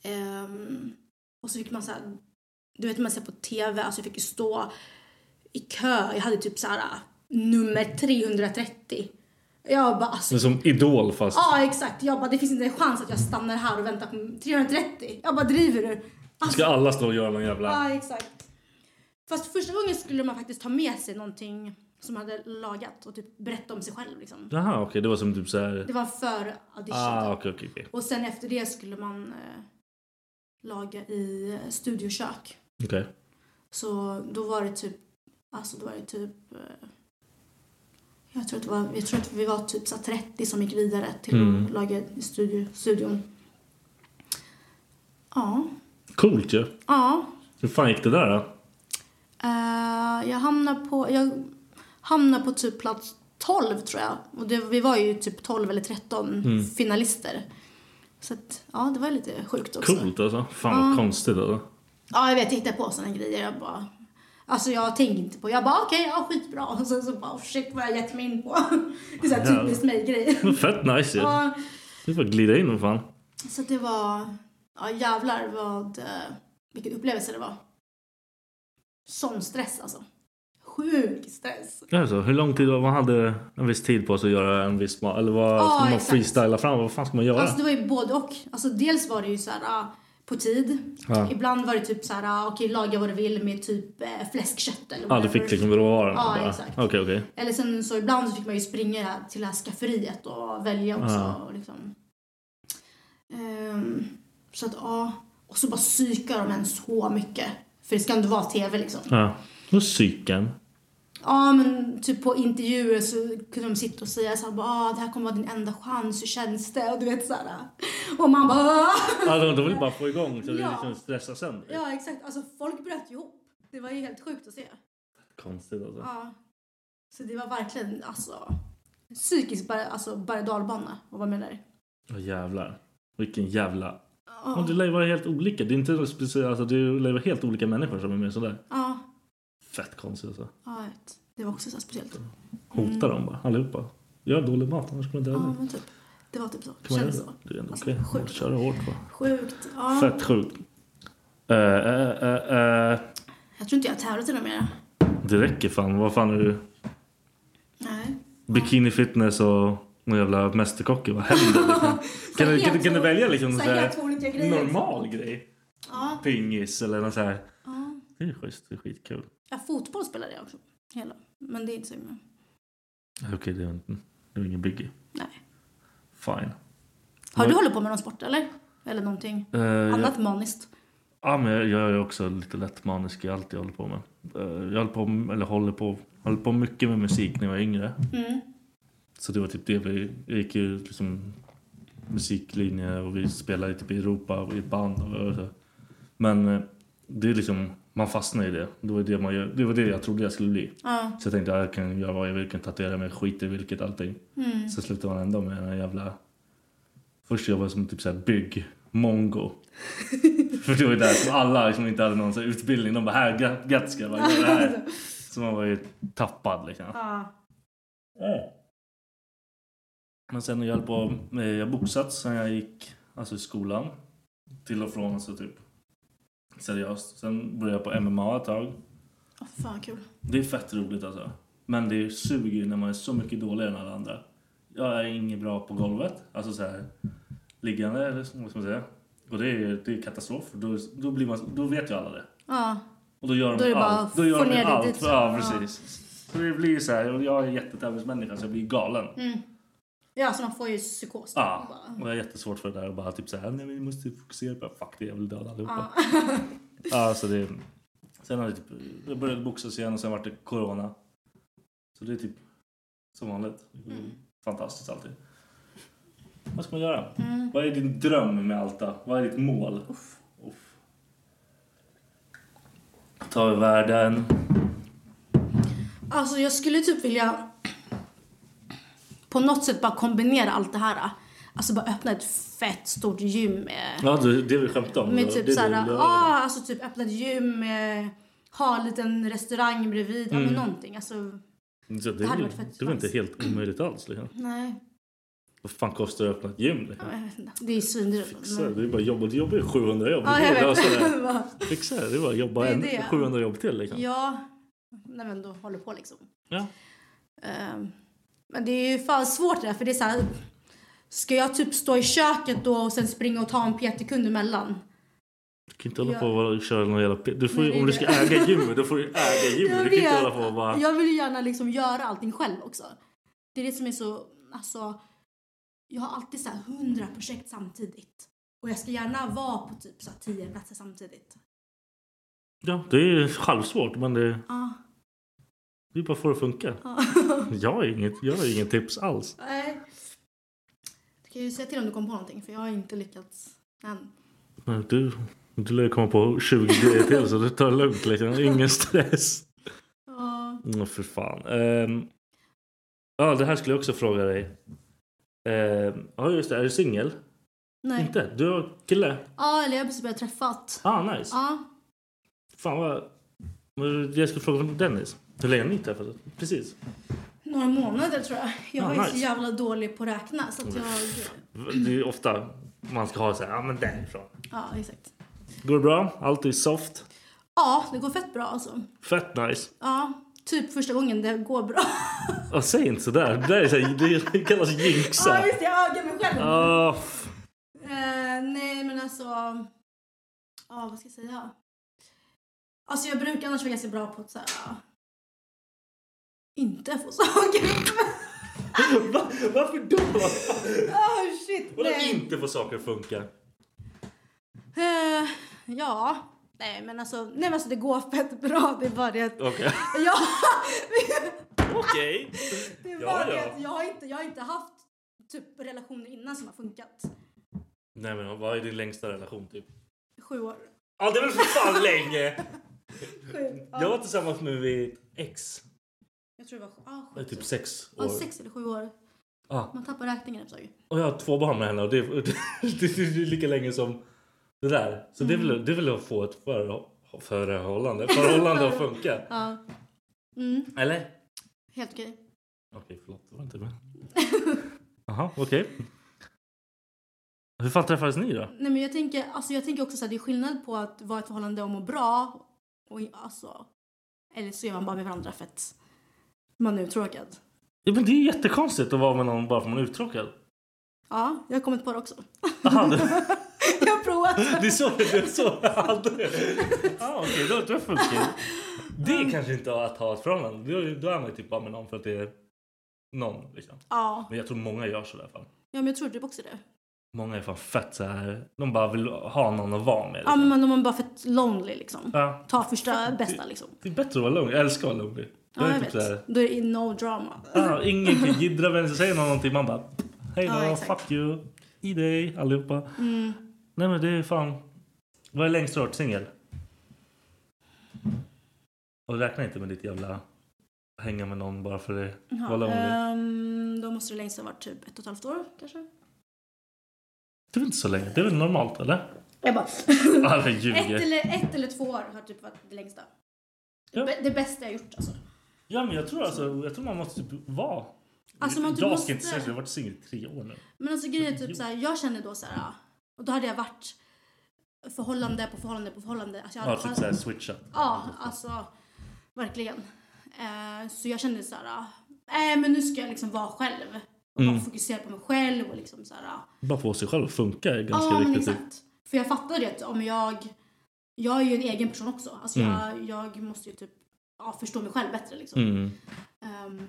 Speaker 4: Ehm, och så fick man så här, du vet man ser på TV, alltså jag fick ju stå i kö. Jag hade typ så här nummer 330. Jag bara alltså
Speaker 1: Men som Idol fast...
Speaker 4: Ja exakt, jag bara det finns inte en chans att jag stannar här och väntar på 330. Jag bara driver du? Alltså,
Speaker 1: Ska alla stå och göra någon jävla...
Speaker 4: Ja, exakt. Fast första gången skulle man faktiskt ta med sig någonting som man hade lagat och typ berätta om sig själv liksom.
Speaker 1: Jaha okej, det var som typ såhär...
Speaker 4: Det var för audition.
Speaker 1: Ah
Speaker 4: typ.
Speaker 1: okej okej okej.
Speaker 4: Och sen efter det skulle man eh, laga i eh, studiokök.
Speaker 1: Okej.
Speaker 4: Så då var det typ, alltså då var det typ, eh, jag tror att, det var, jag tror att vi var typ så här 30 som gick vidare till
Speaker 1: Mm.
Speaker 4: att laga i studio, studion. Ja,
Speaker 1: Coolt ju.
Speaker 4: ja,
Speaker 1: Hur fan gick det där då?
Speaker 4: Eh, jag hamnade på, jag hamnade på typ plats 12 tror jag. Och det, vi var ju typ 12 eller 13 finalister. Så att, ja det var lite sjukt också.
Speaker 1: Coolt alltså. Fan vad
Speaker 4: Ja.
Speaker 1: konstigt alltså.
Speaker 4: Ja jag vet, jag hittade på sådana grejer. Jag bara, alltså jag tänkte inte på, jag bara okej, ja skitbra. Och sen så bara oh, shit vad jag gett mig in på. Det är så här
Speaker 1: Jävlar.
Speaker 4: typiskt mig-grej.
Speaker 1: Men fett nice ju.
Speaker 4: Ja,
Speaker 1: Du får glida in och fan.
Speaker 4: så att det var, ja jävlar vad, eh, vilken upplevelse det var. Sån stress alltså. Sjuk stress.
Speaker 1: Alltså, hur lång tid man hade en viss tid på sig att göra en viss mat? Eller vad
Speaker 4: Ja,
Speaker 1: ska man
Speaker 4: exakt.
Speaker 1: freestyla fram? Vad fan ska man göra?
Speaker 4: Alltså det var ju både och. Alltså dels var det ju så här, ah, på tid.
Speaker 1: Ja.
Speaker 4: Ibland var det typ så här, ah, okej laga vad du vill med typ eh, fläskkött eller
Speaker 1: Ja, du
Speaker 4: whatever.
Speaker 1: fick liksom råvaran.
Speaker 4: Ja,
Speaker 1: bara.
Speaker 4: exakt.
Speaker 1: Okej, okej.
Speaker 4: Eller sen så ibland så fick man ju springa till det här skafferiet och välja också.
Speaker 1: Ja.
Speaker 4: Och liksom. Ehm, så att ja, och så bara psykar de en så mycket. För det ska inte vara tv liksom.
Speaker 1: Ja. Och psyken.
Speaker 4: Ja men typ på intervjuer så kunde de sitta och säga såhär bara ah, det här kommer vara din enda chans, hur känns det? Och du vet såhär. Och man bara "Ah."
Speaker 1: Ja, de, de vill bara få igång så det
Speaker 4: Ja.
Speaker 1: liksom stressar sönder.
Speaker 4: Ja exakt, alltså folk bröt ju ihop. Det var ju helt sjukt att se.
Speaker 1: Konstigt alltså.
Speaker 4: Ja. Så det var verkligen alltså psykisk berg- alltså, berg och dalbana att vara med där.
Speaker 1: Åh jävlar. Vilken jävla...
Speaker 4: Ja.
Speaker 1: Oh. Det lär ju vara helt olika. Det är inte speciellt, alltså, det lär ju vara helt olika människor som är med sådär.
Speaker 4: Ja,
Speaker 1: Fett konstigt alltså.
Speaker 4: ja vet. det var också så här speciellt.
Speaker 1: Hota dem bara, allihopa. Gör dålig mat annars kommer jag döda
Speaker 4: Ja
Speaker 1: dig.
Speaker 4: men typ. Det var typ så.
Speaker 1: Kan man göra
Speaker 4: Kändes
Speaker 1: det?
Speaker 4: så.
Speaker 1: Det är ändå
Speaker 4: Alltså,
Speaker 1: okej.
Speaker 4: sjukt.
Speaker 1: Kör hårt bara.
Speaker 4: Sjukt. Ja.
Speaker 1: Fett sjukt. Eh, eh, eh, eh.
Speaker 4: Jag tror inte jag har tävlat i något mer.
Speaker 1: Det räcker fan. Vad fan är du?
Speaker 4: Nej.
Speaker 1: Bikini fitness och någon jävla mästerkock. Vad händer? Liksom? kan, du, kan, du, kan du välja liksom
Speaker 4: Så
Speaker 1: någon
Speaker 4: här
Speaker 1: så
Speaker 4: helt olika
Speaker 1: här
Speaker 4: grejer.
Speaker 1: normal grej?
Speaker 4: Ja.
Speaker 1: Pingis eller något så här.
Speaker 4: ja.
Speaker 1: Det är schysst. Det är skitkul.
Speaker 4: ja fotboll spelade jag också. Hela. Men det är inte så himla...
Speaker 1: Okej, det är inte- det är ingen biggie.
Speaker 4: Nej.
Speaker 1: Fine.
Speaker 4: Har du
Speaker 1: Vad-
Speaker 4: hållit på med någon sport eller? Eller någonting?
Speaker 1: Eh, jag,
Speaker 4: Annat maniskt?
Speaker 1: ja, men jag, jag är också lite lätt manisk i allt jag håller på med. Eh, jag håller på, eller håller på, håller på mycket med musik när jag var yngre.
Speaker 4: Mm.
Speaker 1: Så det var typ det vi jag gick ju liksom musiklinje och vi spelade typ i Europa och i ett band och så. Men eh, det är liksom, man fastnar i det. Det var det, man gör, det var det jag trodde jag skulle bli.
Speaker 4: Ja.
Speaker 1: Så jag tänkte jag kan göra vad jag vill, kan tatuera mig, skit i vilket, allting.
Speaker 4: Mm.
Speaker 1: Så slutade man ändå med en jävla... Först jobbade jag som typ såhär bygg-mongo. För det var ju där som alla som inte hade någon så här utbildning, de bara här, gra- grattis ska jag bara göra det här. Så man var ju tappad liksom.
Speaker 4: Alltså. Ja.
Speaker 1: Men sen när jag höll på, eh, jag boxat sen jag gick alltså i skolan. Till och från alltså typ seriöst. Sen började jag på MMA ett tag.
Speaker 4: Åh, fan kul.
Speaker 1: Det är fett roligt alltså. Men det suger ju när man är så mycket dåligare än alla andra. Jag är ingen bra på golvet, alltså så här liggande eller så- vad ska man säga. Och det är, det är katastrof, för då, då, blir man, då vet ju alla det.
Speaker 4: Ja.
Speaker 1: Och då gör
Speaker 4: Då är
Speaker 1: de
Speaker 4: det bara
Speaker 1: allt. Då gör
Speaker 4: få
Speaker 1: de ju
Speaker 4: ner det
Speaker 1: allt.
Speaker 4: dit.
Speaker 1: Ja, precis. Så det blir ju så här, och jag är jättetävlingsmänniska så jag blir galen.
Speaker 4: Mm. Ja, så man får ju psykos.
Speaker 1: Ja,
Speaker 4: Typ, Bara,
Speaker 1: och jag är jättesvårt för det där och bara typ såhär, nej men vi måste fokusera på, fuck det, jag vill döda allihopa. Ja, så det, sen har det typ, jag började boxas igen och sen vart det corona. Så det är typ som vanligt.
Speaker 4: Mm.
Speaker 1: Fantastiskt alltid. Vad ska man göra?
Speaker 4: Mm.
Speaker 1: Vad är din dröm med Alta? Vad är ditt mål? Uff. Uff. Ta över världen.
Speaker 4: Alltså jag skulle typ vilja på något sätt bara kombinera allt det här. Alltså bara öppna ett fett stort gym med,
Speaker 1: Ja, du, det vi skämtade om.
Speaker 4: med
Speaker 1: då.
Speaker 4: typ
Speaker 1: det är
Speaker 4: såhär,
Speaker 1: du,
Speaker 4: ja
Speaker 1: du-
Speaker 4: ah, alltså typ öppna ett gym med, ha en liten restaurang bredvid, ja
Speaker 1: Mm.
Speaker 4: men någonting. Alltså
Speaker 1: Så det,
Speaker 4: det hade
Speaker 1: är-
Speaker 4: varit fett
Speaker 1: det var inte
Speaker 4: nice.
Speaker 1: helt omöjligt alls. Liksom.
Speaker 4: nej,
Speaker 1: Vad fan kostar det att öppna ett gym? Liksom?
Speaker 4: jag vet inte. Det är ju svindyrt.
Speaker 1: Fixa det. Det är bara jobba. Du jobbar ju 700 jobb.
Speaker 4: Ja,
Speaker 1: det
Speaker 4: jag
Speaker 1: är
Speaker 4: vet.
Speaker 1: lösa det. Fixa det. Det är bara att jobba
Speaker 4: Det är
Speaker 1: en,
Speaker 4: det.
Speaker 1: 700 jobb till. Liksom.
Speaker 4: ja, nej men då håller på liksom.
Speaker 1: Ja.
Speaker 4: Ehm, Men det är ju fan svårt det där för det är såhär, ska jag typ stå i köket då och sen springa och ta en PT-kund emellan?
Speaker 1: Du kan inte hålla
Speaker 4: Ja.
Speaker 1: på och köra någon jävla... pe- Du får, ju-
Speaker 4: Nej, det är
Speaker 1: om du
Speaker 4: det.
Speaker 1: ska äga gymmet, då får du ju äga gymmet. Du kan inte hålla på och bara...
Speaker 4: Jag vill ju gärna liksom göra allting själv också. Det är det som är så, alltså. Jag har alltid så här hundra projekt samtidigt. Och jag ska gärna vara på typ så här tio platser samtidigt.
Speaker 1: Ja, det är ju självsvårt, men det,
Speaker 4: Ja.
Speaker 1: det är bara för att funka.
Speaker 4: ja.
Speaker 1: Jag har inget, jag har inget tips alls.
Speaker 4: ah. Nej. Du kan ju säga till om du kom på någonting för jag har inte lyckats än.
Speaker 1: Men du, du lär ju komma på 20 grejer till, så du tar det lugnt. Liksom. Ingen stress.
Speaker 4: Ja.
Speaker 1: Åh, för fan. Ehm, ja, det här skulle jag också fråga dig. Ehm, Ja, just det. Är du singel?
Speaker 4: Nej.
Speaker 1: Inte? Du har kille?
Speaker 4: Ja, eller jag har precis börjat träffat.
Speaker 1: Ah, nice.
Speaker 4: Ja.
Speaker 1: Fan vad... Men Jag skulle fråga om Dennis. Hur länge har ni träffats? Precis.
Speaker 4: Några månader tror jag. Jag
Speaker 1: Ah,
Speaker 4: var ju så
Speaker 1: nice. Mm.
Speaker 4: jävla dålig på att räkna så att jag...
Speaker 1: Det är ju ofta man ska ha så här, ja men därifrån.
Speaker 4: Ja, exakt.
Speaker 1: Går det bra? Allt är soft?
Speaker 4: Ja, det går fett bra alltså.
Speaker 1: Fett nice?
Speaker 4: Ja, typ första gången det går bra.
Speaker 1: Ja, säg inte sådär. Det där är så här, det kallas jinxa.
Speaker 4: Ah, Ja, just det. Jag ögar mig själv.
Speaker 1: Ah, f-
Speaker 4: Eh, nej, men alltså. ja, vad ska jag säga? Alltså jag brukar annars vara ganska bra på att så här, ja, inte få saker.
Speaker 1: Va? Varför då?
Speaker 4: oh shit,
Speaker 1: Vadå
Speaker 4: nej.
Speaker 1: inte få saker att funka?
Speaker 4: Eh, ja, nej men alltså, nej men alltså det går fett bra. Det är bara det att...
Speaker 1: Okej.
Speaker 4: Ja,
Speaker 1: Okej.
Speaker 4: det är
Speaker 1: Ja,
Speaker 4: bara det
Speaker 1: ja.
Speaker 4: att jag har, inte, jag har inte haft typ relationer innan som har funkat.
Speaker 1: Nej men vad är din längsta relation typ?
Speaker 4: Sju år.
Speaker 1: Ja det är väl för fan länge!
Speaker 4: Sju. Ja.
Speaker 1: Jag var tillsammans med mitt ex.
Speaker 4: Jag tror det var sju, ah,
Speaker 1: Det är
Speaker 4: sju,
Speaker 1: typ sex
Speaker 4: ja,
Speaker 1: år. Ah.
Speaker 4: sex eller sju år.
Speaker 1: Ja.
Speaker 4: Man tappar räkningen ett tag.
Speaker 1: Och jag har två barn med henne och det, det, det, det är lika länge som det där. Så det, vill, det vill jag få ett för, förhållande, förhållande att funka.
Speaker 4: Ja. Mm,
Speaker 1: Eller?
Speaker 4: helt okej.
Speaker 1: Okej, förlåt. Det var inte med. Jaha, okej. Hur fan träffades ni då?
Speaker 4: Nej men jag tänker, alltså jag tänker också så här, det är skillnad på att vara i ett förhållande och må bra och alltså, eller så är man bara med varandra för att man är uttråkad.
Speaker 1: Ja, men det är jättekonstigt att vara med någon bara för man är uttråkad.
Speaker 4: Ja, jag har kommit på det också.
Speaker 1: Aha, det,
Speaker 4: jag har provat.
Speaker 1: det är så det är så jag hade det. Ah, okej, då- då funkar det. Det är kanske inte att ha ett förhållande. Då, då är man ju typ bara med någon för att det är någon. Liksom.
Speaker 4: Ja.
Speaker 1: Men jag tror många gör så i alla fall.
Speaker 4: ja, men jag tror typ också det.
Speaker 1: Många är fan fett så här. De bara vill ha någon att vara med.
Speaker 4: Ja,
Speaker 1: Liksom.
Speaker 4: men om man bara är fett lonely liksom.
Speaker 1: Ja.
Speaker 4: Ta första bästa liksom.
Speaker 1: Det är bättre att vara lugn. Jag älskar att vara lugn.
Speaker 4: Ja, jag
Speaker 1: typ så här-
Speaker 4: vet. Då är det no drama.
Speaker 1: Ja, ingen kan jiddra med en. Så säger någon någonting man bara hej då,
Speaker 4: Ja, exakt. Mm.
Speaker 1: fuck you, i dig allihopa. Nej men det är fan. Vad är längst du har varit singel? Och räkna inte med ditt jävla hänga med någon bara för det. Vad lång du är.
Speaker 4: Um, då måste det längst ha varit typ ett och ett halvt år kanske.
Speaker 1: Det är väl inte så länge? Det är väl normalt eller?
Speaker 4: Jag bara...
Speaker 1: Alla
Speaker 4: ett,
Speaker 1: ljuger.
Speaker 4: eller, ett eller två år har typ varit det längsta.
Speaker 1: Ja.
Speaker 4: Det bästa jag gjort alltså.
Speaker 1: Ja men jag tror alltså, jag tror man måste typ vara.
Speaker 4: Alltså, man typ
Speaker 1: jag
Speaker 4: måste-
Speaker 1: ska inte säga så, jag har varit singel i tre år nu.
Speaker 4: Men alltså grejen är typ såhär, jag kände då såhär, ja, och då hade jag varit förhållande på förhållande på förhållande. Alltså, jag
Speaker 1: Jag har
Speaker 4: hade,
Speaker 1: typ såhär switchat.
Speaker 4: Ja, alltså verkligen. Eh, så jag kände såhär, ja, nej men nu ska jag liksom vara själv. Och
Speaker 1: Mm.
Speaker 4: bara fokusera på mig själv och liksom såhär. ja.
Speaker 1: Bara få sig själv att funka är ganska
Speaker 4: Ja men
Speaker 1: viktigt. typ.
Speaker 4: exakt. För jag fattade ju att om jag, jag är ju en egen person också. Alltså
Speaker 1: Mm.
Speaker 4: jag, jag måste ju typ ja, förstå mig själv bättre liksom.
Speaker 1: Mm.
Speaker 4: Ehm,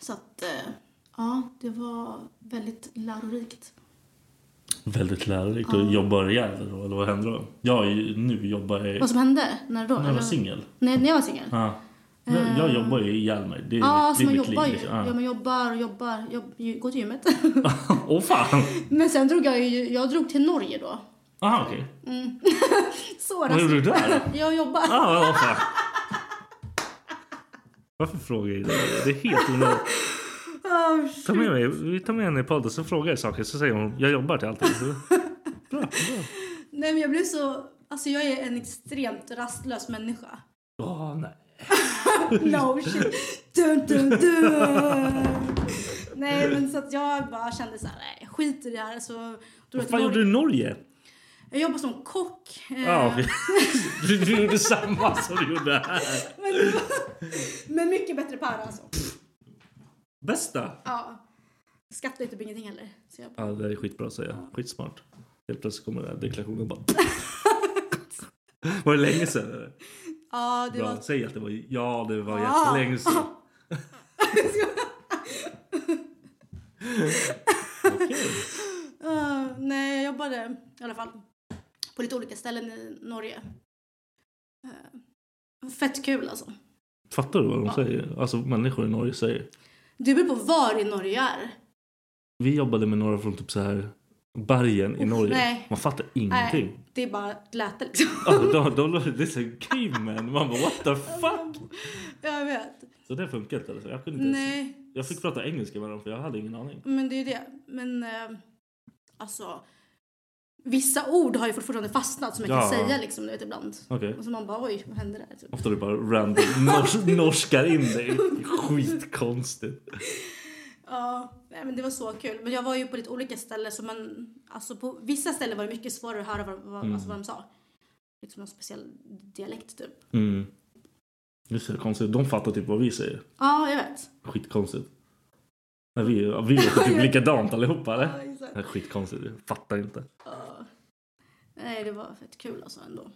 Speaker 4: så att, eh, ja det var väldigt lärorikt.
Speaker 1: Väldigt lärorikt. Och jag började då, eller vad hände då? Jag är ju, nu jobbar jag...
Speaker 4: Vad som hände? När då?
Speaker 1: när jag var
Speaker 4: Eller-
Speaker 1: singel.
Speaker 4: Nej, när jag var singel? Ja,
Speaker 1: Ja. Jag, jag jobbar ju ihjäl mig. Det är,
Speaker 4: Eh. alltså man
Speaker 1: mitt, det är mitt
Speaker 4: jobbar
Speaker 1: liv.
Speaker 4: ju.
Speaker 1: liksom.
Speaker 4: Ja,
Speaker 1: Ja.
Speaker 4: man jobbar och jobbar. Jobb, ju- går till gymmet.
Speaker 1: Åh fan!
Speaker 4: Men sen drog jag ju, jag drog till Norge då.
Speaker 1: Aha, okej.
Speaker 4: Så
Speaker 1: Vad gjorde du där?
Speaker 4: Jag jobbar.
Speaker 1: Ah, vad fan. Varför frågar jag dig det? Det är helt onödigt.
Speaker 4: Oh,
Speaker 1: Ta med mig. Vi tar med henne i podden så frågar jag saker så säger hon jag jobbar till allting. Så- Bra, bra.
Speaker 4: nej men jag blev så, alltså jag är en extremt rastlös människa.
Speaker 1: Åh, nej.
Speaker 4: No shit. Dun, dun, dun. nej men så att jag bara kände så här, nej skit i det här. Så drog jag
Speaker 1: Vad
Speaker 4: till
Speaker 1: fan gjorde
Speaker 4: Norge.
Speaker 1: du i
Speaker 4: Eh.
Speaker 1: Norge?
Speaker 4: Jag jobbar som kock. eh,
Speaker 1: Ja, okej. du, du gjorde samma som du gjorde här.
Speaker 4: men, det var- men mycket bättre para alltså.
Speaker 1: Bästa?
Speaker 4: Ja. Skattar ju typ ingenting heller. Så jag bara,
Speaker 1: Ja, det där är skitbra att säga. Skitsmart. Helt plötsligt kommer den här deklarationen bara... var det länge sedan eller?
Speaker 4: ja, det
Speaker 1: Bra.
Speaker 4: var... Ah.
Speaker 1: Säg att det var... Ja, det var
Speaker 4: Ja.
Speaker 1: jättelänge sedan. Okej.
Speaker 4: Ah, nej, jag jobbade i alla fall på lite olika ställen i Norge. Eh, fett kul alltså.
Speaker 1: Fattar du vad de säger? Alltså människor i Norge säger.
Speaker 4: Det beror på var i Norge jag är.
Speaker 1: Vi jobbade med några från typ så här bergen i Norge.
Speaker 4: nej.
Speaker 1: Man fattar
Speaker 4: Nej,
Speaker 1: ingenting.
Speaker 4: det är bara ett läte liksom.
Speaker 1: Alltså, de, de, det är så grimmen. Man bara what the fuck?
Speaker 4: jag vet.
Speaker 1: Så det funkar inte alltså. Jag kunde inte ens...
Speaker 4: Nej,
Speaker 1: Jag fick prata engelska med dem för jag hade ingen aning.
Speaker 4: men det är ju det. Men eh, alltså, vissa ord har ju fortfarande fastnat som jag kan
Speaker 1: Ja.
Speaker 4: säga liksom, du vet ibland.
Speaker 1: Okej.
Speaker 4: Och så man bara oj, vad hände där? Typ.
Speaker 1: Ofta är det bara random nors- norskar in dig. Skitkonstigt.
Speaker 4: Ja, nej, men det var så kul. Men jag var ju på lite olika ställen så man, alltså på vissa ställen var det mycket svårare att höra vad, vad, alltså vad de sa. Liksom någon speciell dialekt typ.
Speaker 1: Mm. Just det, konstigt. De fattar typ vad vi säger.
Speaker 4: Ja, jag vet.
Speaker 1: Skitkonstigt. Men vi, vi låter typ likadant allihopa eller?
Speaker 4: exakt.
Speaker 1: Det är skitkonstigt. Jag fattar inte.
Speaker 4: Ja. Eh, Nej, det var fett kul alltså ändå.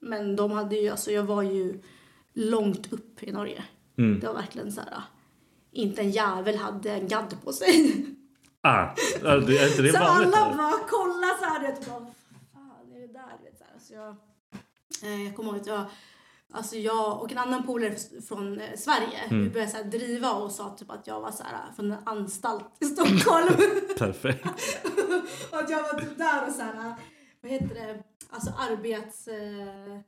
Speaker 4: Men de hade ju, alltså jag var ju långt upp i Norge.
Speaker 1: Mm.
Speaker 4: Det var verkligen så här, inte en jävel hade en gadd på sig.
Speaker 1: Ah, ja, det- är inte det
Speaker 4: så
Speaker 1: vanligt?
Speaker 4: alla
Speaker 1: eller?
Speaker 4: bara kollade så här, du vet, bara, fan är det där? Du vet, så här. Så jag, eh, jag kommer ihåg att jag, alltså jag och en annan polare f- från eh, Sverige,
Speaker 1: Mm.
Speaker 4: vi började så här, driva och sa typ att jag var så här, från en anstalt i Stockholm.
Speaker 1: Perfekt.
Speaker 4: och att jag var typ där och så här, vad heter det, alltså arbets... Eh,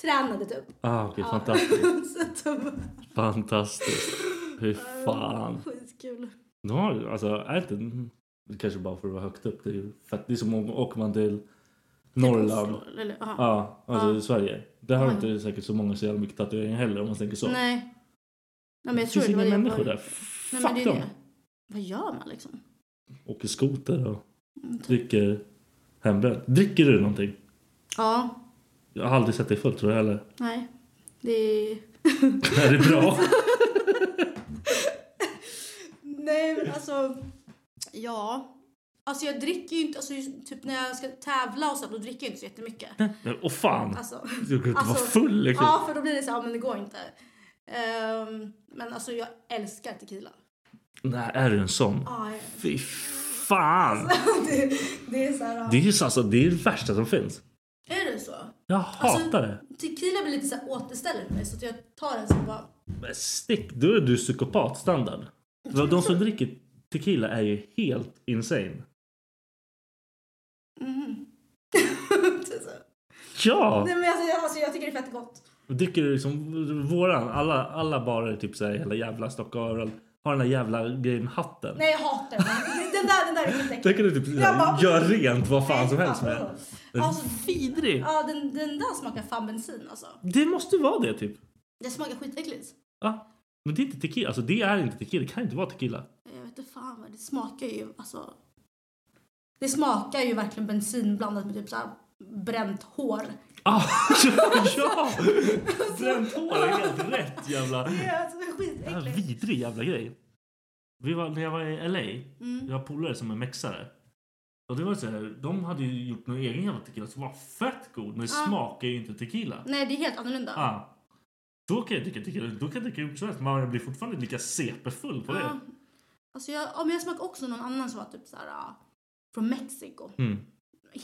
Speaker 4: tränade typ.
Speaker 1: Ah, okej,
Speaker 4: Ja.
Speaker 1: fantastiskt.
Speaker 4: så att de bara,
Speaker 1: Fantastiskt. Hur fan.
Speaker 4: skitkul.
Speaker 1: De har, alltså, är inte, det kanske bara för att vara högt upp. Det är, ju fett, det är som om åker man till Norrland.
Speaker 4: Typ Oslo, eller- aha.
Speaker 1: Ja, alltså
Speaker 4: Ja.
Speaker 1: Sverige. Där har
Speaker 4: Oj.
Speaker 1: inte säkert så många så jävla mycket tatueringar heller om man tänker så.
Speaker 4: Nej. Nej men jag
Speaker 1: Alltså. det
Speaker 4: tror det
Speaker 1: finns
Speaker 4: var det
Speaker 1: inga
Speaker 4: jag
Speaker 1: människor
Speaker 4: började-
Speaker 1: där.
Speaker 4: Nej, men
Speaker 1: Fuck
Speaker 4: det är
Speaker 1: dem.
Speaker 4: det. Vad gör man liksom? Mm, typ.
Speaker 1: Åker skoter och dricker hembränt. Dricker du någonting?
Speaker 4: Ja,
Speaker 1: Jag har aldrig sett dig full tror jag heller.
Speaker 4: nej. Det är...
Speaker 1: Det här är bra.
Speaker 4: Nej men alltså, ja. Alltså jag dricker ju inte, alltså just typ när jag ska tävla och så, då dricker jag inte så jättemycket.
Speaker 1: Åh fan.
Speaker 4: Alltså,
Speaker 1: Du kan inte vara full liksom.
Speaker 4: Ja, för då blir det så här, men det går inte. Ehm, men alltså jag älskar tequila.
Speaker 1: Nej, är du en sån?
Speaker 4: Ja, jag-
Speaker 1: Fy fan.
Speaker 4: det, det är så här, ja.
Speaker 1: Det är ju så- alltså, det är det värsta som finns.
Speaker 4: Är det så?
Speaker 1: Jag
Speaker 4: Alltså-
Speaker 1: hatar det.
Speaker 4: Tequila blir lite så här återställare för mig så att jag tar en som bara,
Speaker 1: Men stick, då är du psykopatstandard. De som dricker tequila är ju helt insane.
Speaker 4: mhm. Typ så.
Speaker 1: Ja!
Speaker 4: Nej men alltså, jag, alltså jag tycker det är fett gott.
Speaker 1: Och Dricker du liksom våran, alla, alla barer typ såhär hela jävla Stockholm överallt, har den där jävla grejen med hatten.
Speaker 4: Nej jag hatar den. Den där, den där är skitäcklig.
Speaker 1: Där kan du typ
Speaker 4: Jag bara-
Speaker 1: såhär, gör rent vad fan som helst med den. Den är
Speaker 4: Alltså,
Speaker 1: Vidrig!
Speaker 4: Ja, den, den där smakar fan bensin alltså.
Speaker 1: Det måste vara det typ.
Speaker 4: Det smakar skitäckligt.
Speaker 1: Ja. Men det är inte tequila, alltså det är inte tequila, det kan inte vara tequila.
Speaker 4: Jag vet inte fan vad det smakar ju alltså. Det smakar ju verkligen bensin blandat med typ så här bränt hår.
Speaker 1: Ah, ja, ja!
Speaker 4: Alltså-
Speaker 1: Bränt hår är helt rätt jävla...
Speaker 4: Det är alltså
Speaker 1: Ja,
Speaker 4: skitäckligt.
Speaker 1: vidrig jävla grej. Vi var, när jag var i LA,
Speaker 4: Mm.
Speaker 1: jag har polare som är mexare. Och det var så här, de hade ju gjort någon egen jävla tequila som var fett god men det
Speaker 4: Ja.
Speaker 1: smakar ju inte tequila.
Speaker 4: Nej, det är helt annorlunda.
Speaker 1: Ja. Då kan jag dricka tequila, då kan jag dricka hur mycket som helst men man blir fortfarande lika CP-full på
Speaker 4: Ja. Alltså jag, ja, men jag smakade också någon annan som var typ så här ah, från Mexiko.
Speaker 1: det. Mm.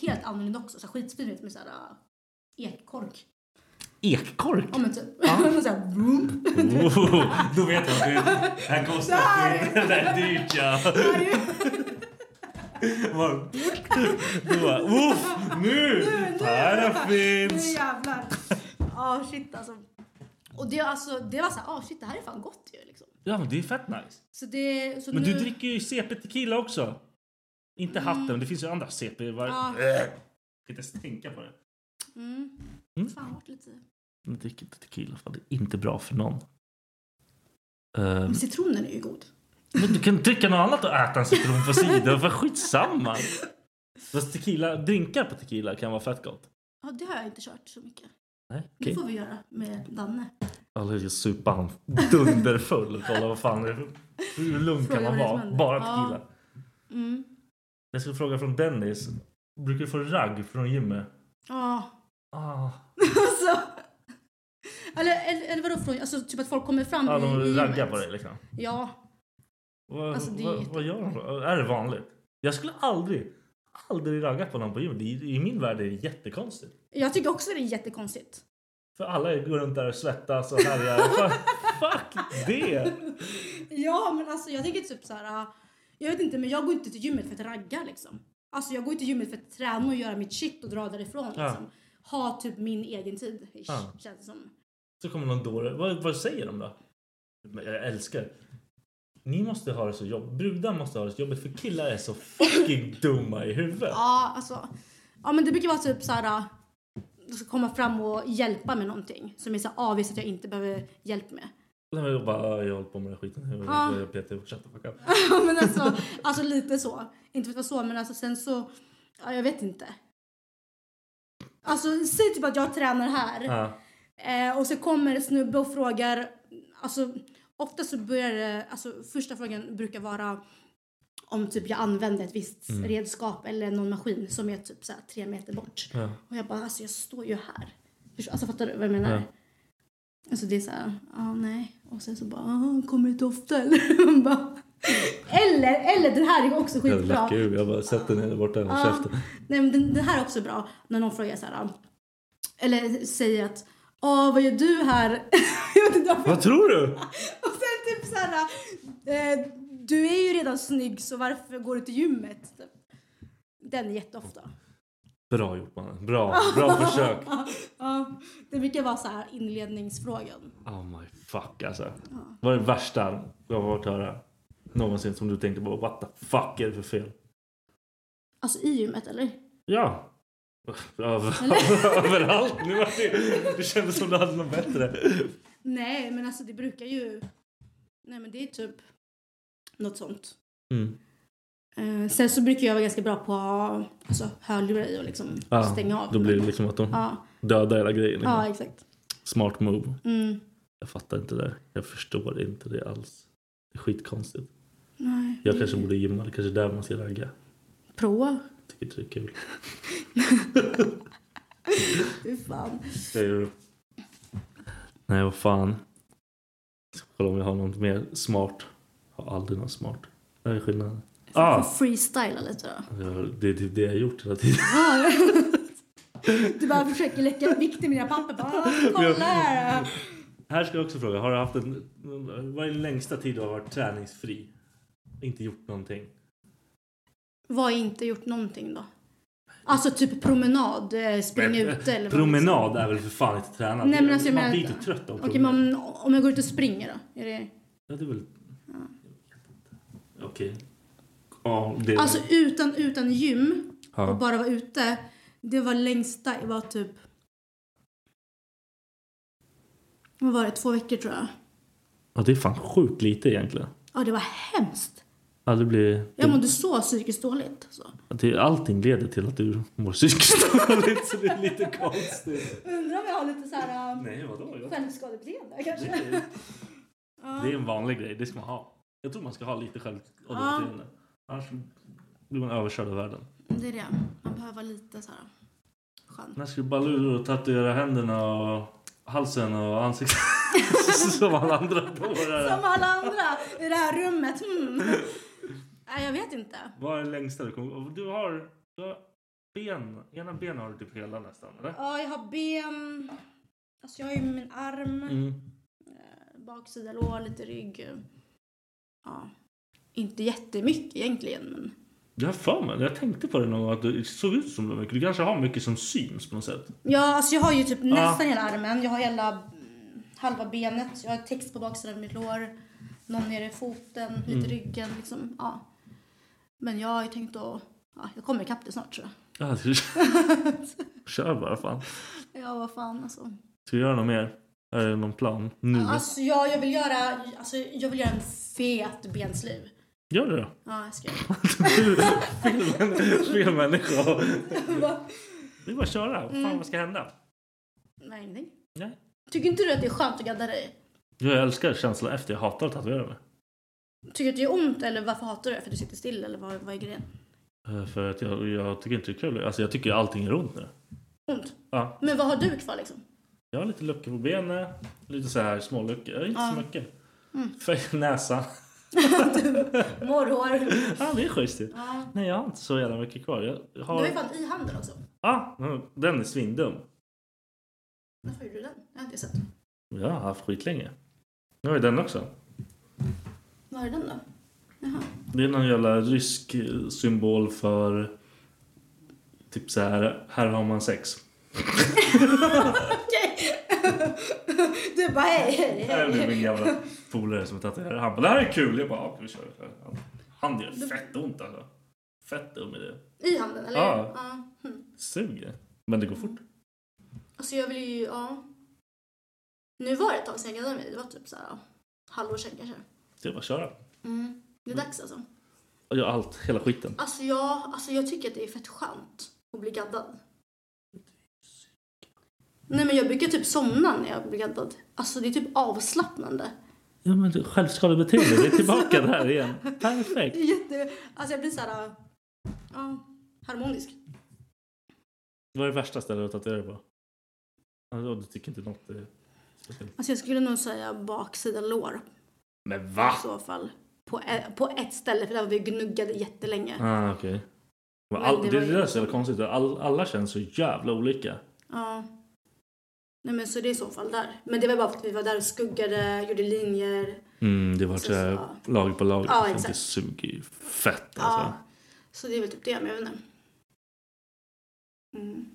Speaker 4: Helt annorlunda också, så här skitfin med så här ah, ekkork.
Speaker 1: Ekkork!
Speaker 4: Ja men typ.
Speaker 1: Ja.
Speaker 4: så här, vroom.
Speaker 1: Oh, då vet jag att det här kostar.
Speaker 4: Det
Speaker 1: Det här är dyrt ja.
Speaker 4: Det här är ju-
Speaker 1: Man- Då bara, uff, nu!
Speaker 4: Nu
Speaker 1: Paraffins!
Speaker 4: jävlar. Ja, shit alltså. Och det, alltså, det var så här, ah shit det här är fan gott ju liksom.
Speaker 1: Ja men det är fett nice.
Speaker 4: Så det, så
Speaker 1: Men
Speaker 4: nu,
Speaker 1: du dricker ju CP tequila också. Inte hatten, men det finns ju andra CP. Var...
Speaker 4: Mm. Ja.
Speaker 1: Äh, Jag kan inte ens tänka på det.
Speaker 4: Mm.
Speaker 1: Mm.
Speaker 4: Fan vart lite.
Speaker 1: Men drick inte tequila, för det är inte bra för någon. Ehm,
Speaker 4: Men citronen är ju god.
Speaker 1: men du kan dricka något annat och äta en citron på sidan, för skitsamma. Fast tequila, drinkar på tequila kan vara fett gott.
Speaker 4: Ja, det har jag inte kört så mycket.
Speaker 1: Nej,
Speaker 4: Det
Speaker 1: okej.
Speaker 4: får vi göra med Danne.
Speaker 1: Eller jag supar han dunderfull och kolla vad fan det är. Hur lugn kan
Speaker 4: Fråga
Speaker 1: man
Speaker 4: vad det är som händer.
Speaker 1: vara? Bara
Speaker 4: liksom Ja.
Speaker 1: tequila.
Speaker 4: Mm.
Speaker 1: Jag ska fråga från Dennis. Brukar du få ragg från Jimmy?
Speaker 4: Ja.
Speaker 1: Ah.
Speaker 4: Alltså. Eller, eller, eller vadå från, alltså typ att folk kommer fram
Speaker 1: Ja,
Speaker 4: i- i
Speaker 1: de raggar
Speaker 4: gymmet.
Speaker 1: på dig liksom.
Speaker 4: Ja.
Speaker 1: Vad,
Speaker 4: Alltså, det är
Speaker 1: vad,
Speaker 4: jätte-
Speaker 1: vad gör de då? Är det vanligt? Jag skulle aldrig, aldrig ragga på någon på gymmet. I, I min värld är det jättekonstigt.
Speaker 4: Jag tycker också det är jättekonstigt.
Speaker 1: För alla går runt där och svettas och härjar. Fuck- Fuck det!
Speaker 4: Ja, men alltså jag tänker typ så här. äh, Jag vet inte, men jag går inte till gymmet för att ragga liksom. Alltså jag går inte till gymmet för att träna och göra mitt shit och dra därifrån
Speaker 1: Ja.
Speaker 4: liksom. Ha typ min egen tid, ish,
Speaker 1: Ja.
Speaker 4: känns det som.
Speaker 1: Så kommer någon dåre. Vad, vad säger de då? Men Jag älskar. Ni måste ha det så jobbigt. Brudar måste ha det så jobbigt för killar är så fucking dumma i huvudet.
Speaker 4: Ja, alltså. Ja, men det brukar vara typ så här. äh, De ska komma fram och hjälpa med någonting som är så avvis att jag inte behöver hjälp med.
Speaker 1: Nej, men Jag bara, "Ah, jag håller på med den här skiten. Jag,
Speaker 4: Ja.
Speaker 1: jag, jag petar och shut the fuck up.
Speaker 4: Ja, men alltså, alltså lite så. Inte för att vara så, men alltså sen så, ja, jag vet inte. Alltså säg typ att jag tränar här.
Speaker 1: Ja.
Speaker 4: Eh, och så kommer en snubbe och frågar, alltså ofta så börjar det, alltså första frågan brukar vara om typ jag använder ett visst
Speaker 5: Mm.
Speaker 4: redskap eller någon maskin som är typ så här tre meter bort.
Speaker 5: Ja.
Speaker 4: Och jag bara, alltså jag står ju här. Förstår- Alltså fattar du vad jag menar?
Speaker 5: Ja.
Speaker 4: Alltså det är så här, ja nej. Och sen så bara, "Ah, han kommer inte ofta eller? Man bara, eller, eller den här är också
Speaker 5: Jag
Speaker 4: skitbra.
Speaker 5: lackar ur. Jag bara sätter ner där borta i
Speaker 4: Ja.
Speaker 5: käften.
Speaker 4: Nej men den, den här är också bra. När någon frågar så här, "Ah." eller säger att, åh vad gör du här?
Speaker 5: Vad tror du?
Speaker 4: Och sen typ så här, eh, du är ju redan snygg så varför går du till gymmet? Typ. Den är jätteofta.
Speaker 1: Bra gjort mannen. Bra. Bra försök.
Speaker 4: ja, det brukar vara så här inledningsfrågan.
Speaker 1: Oh my fuck alltså. Vad är det värsta jag har fått höra? Någonsin som du tänkte på. What the fuck är det för fel?
Speaker 4: Alltså i gymmet eller?
Speaker 1: Ja. Över, överallt. Nu var det, det kändes som du hade något bättre.
Speaker 4: Nej men alltså det brukar ju, nej men det är typ något sånt.
Speaker 1: Mm.
Speaker 4: Eh, sen så brukar jag vara ganska bra på att ha alltså, hörlurar i och liksom
Speaker 1: Ja,
Speaker 4: stänga av.
Speaker 1: Då blir det liksom att de
Speaker 4: Ja,
Speaker 1: dödar hela grejen. liksom.
Speaker 4: ja exakt.
Speaker 1: Smart move.
Speaker 4: Mm.
Speaker 1: Jag fattar inte det. där. Jag förstår inte det alls. Det är skitkonstigt.
Speaker 4: Nej,
Speaker 1: Jag
Speaker 4: det-
Speaker 1: kanske borde gymma. Det kanske är där man ska ragga.
Speaker 4: Prova.
Speaker 1: Tycker inte det är kul.
Speaker 4: Fy fan.
Speaker 1: Säger du? Nej, vad fan. Jag ska kolla om jag har något mer smart. Jag har aldrig något smart. Det är skillnaden. Ah!
Speaker 4: Freestyla lite då.
Speaker 1: Jag- Det är typ det jag har gjort hela tiden.
Speaker 4: Ja. Du bara försöker läcka vikt i mina papper. Bara, "Ah, kolla här.
Speaker 1: Här ska jag också fråga. Har du haft en... Vad är den längsta tid du har varit träningsfri? Inte gjort någonting?
Speaker 4: Vad har inte gjort någonting då? Alltså typ promenad, eh, springa
Speaker 1: Men,
Speaker 4: ute eller vad man
Speaker 1: Promenad
Speaker 4: ska-
Speaker 1: är väl för fan inte tränat?
Speaker 4: Nej men alltså jag
Speaker 1: man
Speaker 4: menar...
Speaker 1: blir ju trött av
Speaker 4: Okej men om, om jag går ut och springer då? Är det...
Speaker 1: Ja, det är väl... Okej. Ja, det är
Speaker 4: Alltså utan, utan gym
Speaker 1: Ja.
Speaker 4: och bara vara ute. Det var längsta, det var typ... Vad var det? Två veckor tror jag.
Speaker 1: ja, det är fan sjukt lite egentligen.
Speaker 4: Ja det var hemskt.
Speaker 1: Ja, det blir...
Speaker 4: Jag mådde så psykiskt dåligt. Alltså.
Speaker 1: Det, allting leder till att du mår psykiskt dåligt så det är lite konstigt.
Speaker 4: Undrar om jag har lite så här... um,
Speaker 1: Nej, vadå? Jag-
Speaker 4: Självskadebeteende kanske?
Speaker 1: Det är-
Speaker 4: Ja.
Speaker 1: Det är en vanlig grej, det ska man ha. Jag tror man ska ha lite självbeteende. Annars blir man överkörd av världen.
Speaker 4: Det är det. Man behöver vara lite så här skön.
Speaker 1: När ska Baloo tatuera händerna och halsen och ansiktet? Som alla andra dårar.
Speaker 4: Som alla andra i det här rummet. Hmm. Nej, jag vet inte.
Speaker 1: Vad är det längsta du kommer... Du har... Du har ben. Ena benet har du typ hela nästan, eller?
Speaker 4: Ja, jag har ben. Alltså jag har ju min arm.
Speaker 1: Mm.
Speaker 4: eh, Baksida lår, lite rygg. Ja. Inte jättemycket egentligen men.
Speaker 1: Jag har för mig, jag tänkte på det någon gång, att det såg ut som det var mycket. Du kanske har mycket som syns på något sätt.
Speaker 4: Ja, alltså jag har ju typ
Speaker 1: Ja.
Speaker 4: nästan hela armen. Jag har hela mm, halva benet. Jag har text på baksidan av mitt lår. Någon nere i foten, lite
Speaker 1: Mm.
Speaker 4: ryggen liksom. Ja. Men jag har ju tänkt att... Ja, jag kommer ikapp det snart tror jag.
Speaker 1: Ja, det- Kör bara fan.
Speaker 4: Ja, vad fan alltså.
Speaker 1: Ska vi göra något mer? Är det någon plan? Mm. Nu?
Speaker 4: Alltså jag, jag vill göra... Alltså jag vill göra en fet bensliv.
Speaker 1: Gör det då.
Speaker 4: Ja, jag ska
Speaker 1: Fel människa.
Speaker 4: Vad?
Speaker 1: Det är bara att köra. Fan,
Speaker 4: Mm.
Speaker 1: vad ska hända?
Speaker 4: Nej, ingenting.
Speaker 1: Nej.
Speaker 4: Tycker inte du att det är skönt att gadda dig?
Speaker 1: Jag älskar känslan efter. Jag hatar att tatuera mig.
Speaker 4: Tycker du att det gör ont eller varför hatar du det? För du sitter still eller vad, vad är grejen?
Speaker 1: Eh, För att jag, jag tycker inte det är kul. Alltså jag tycker allting är ont nu.
Speaker 4: Ont?
Speaker 1: Ja.
Speaker 4: Men vad har du kvar liksom?
Speaker 1: Jag har lite luckor på benen. Lite så här små luckor. Jag har Inte
Speaker 4: Ja.
Speaker 1: så mycket.
Speaker 4: Mm.
Speaker 1: För näsa.
Speaker 4: Morrhår?
Speaker 1: Ja, det är schysst ju.
Speaker 4: Ja.
Speaker 1: Nej, jag har inte så jävla mycket kvar. Jag
Speaker 4: Du har
Speaker 1: har...
Speaker 4: ju fan i handen också.
Speaker 1: Ja, den är svindum.
Speaker 4: Varför gjorde du den? Jag har inte sett.
Speaker 1: Jag har haft skitlänge. Nu har jag den också.
Speaker 4: Vad är den då?
Speaker 1: Det är någon jävla rysk eh, symbol för typ så här, här har man sex.
Speaker 4: Okej! Du bara hej, hej,
Speaker 1: Det här är min
Speaker 4: hej.
Speaker 1: gamla polare som är tatuerare. Han bara, det här är kul. Jag bara, ja, vi kör. Han- Han gör fett ont alltså. Fett dum idé.
Speaker 4: I handen eller?
Speaker 1: Ja.
Speaker 4: ja. Mm.
Speaker 1: Suger. Men det går fort.
Speaker 4: Alltså jag vill ju, ja. Nu var det ett tag sedan jag gaddade mig. Det var typ såhär, ja, halvår sedan kanske.
Speaker 1: Det är bara att köra.
Speaker 4: Mm. Det är dags alltså.
Speaker 1: Och gör allt, hela skiten.
Speaker 4: Alltså jag, alltså jag tycker att det är fett skönt att bli gaddad. Nej men jag brukar typ somna när jag blir gaddad. Alltså det är typ avslappnande.
Speaker 1: Ja, men du, självskadebeteende. Det är tillbaka där igen. Perfekt.
Speaker 4: Jätte... Alltså jag blir så här... Ja, harmonisk.
Speaker 1: Vad är det värsta stället att tatuera på? Alltså, du tycker inte något är speciellt.
Speaker 4: Alltså jag skulle nog säga baksida lår.
Speaker 1: Men va?
Speaker 4: I så fall. På, e- på ett ställe, för där var vi gnuggade jättelänge.
Speaker 1: Ah, okej. Men
Speaker 4: Men
Speaker 1: All,
Speaker 4: det
Speaker 1: det,
Speaker 4: var
Speaker 1: det
Speaker 4: ju-
Speaker 1: där är så jävla konstigt. All, alla känns så jävla olika.
Speaker 4: Ja. Nej men så det är i så fall där. Men det var bara för att vi var där och skuggade, gjorde linjer.
Speaker 1: Mm, det var så här lager på lager.
Speaker 4: Ja,
Speaker 1: Fan, det
Speaker 4: exakt.
Speaker 1: suger ju fett alltså.
Speaker 4: Ja. Så det är väl typ det, men jag vet inte. Mm.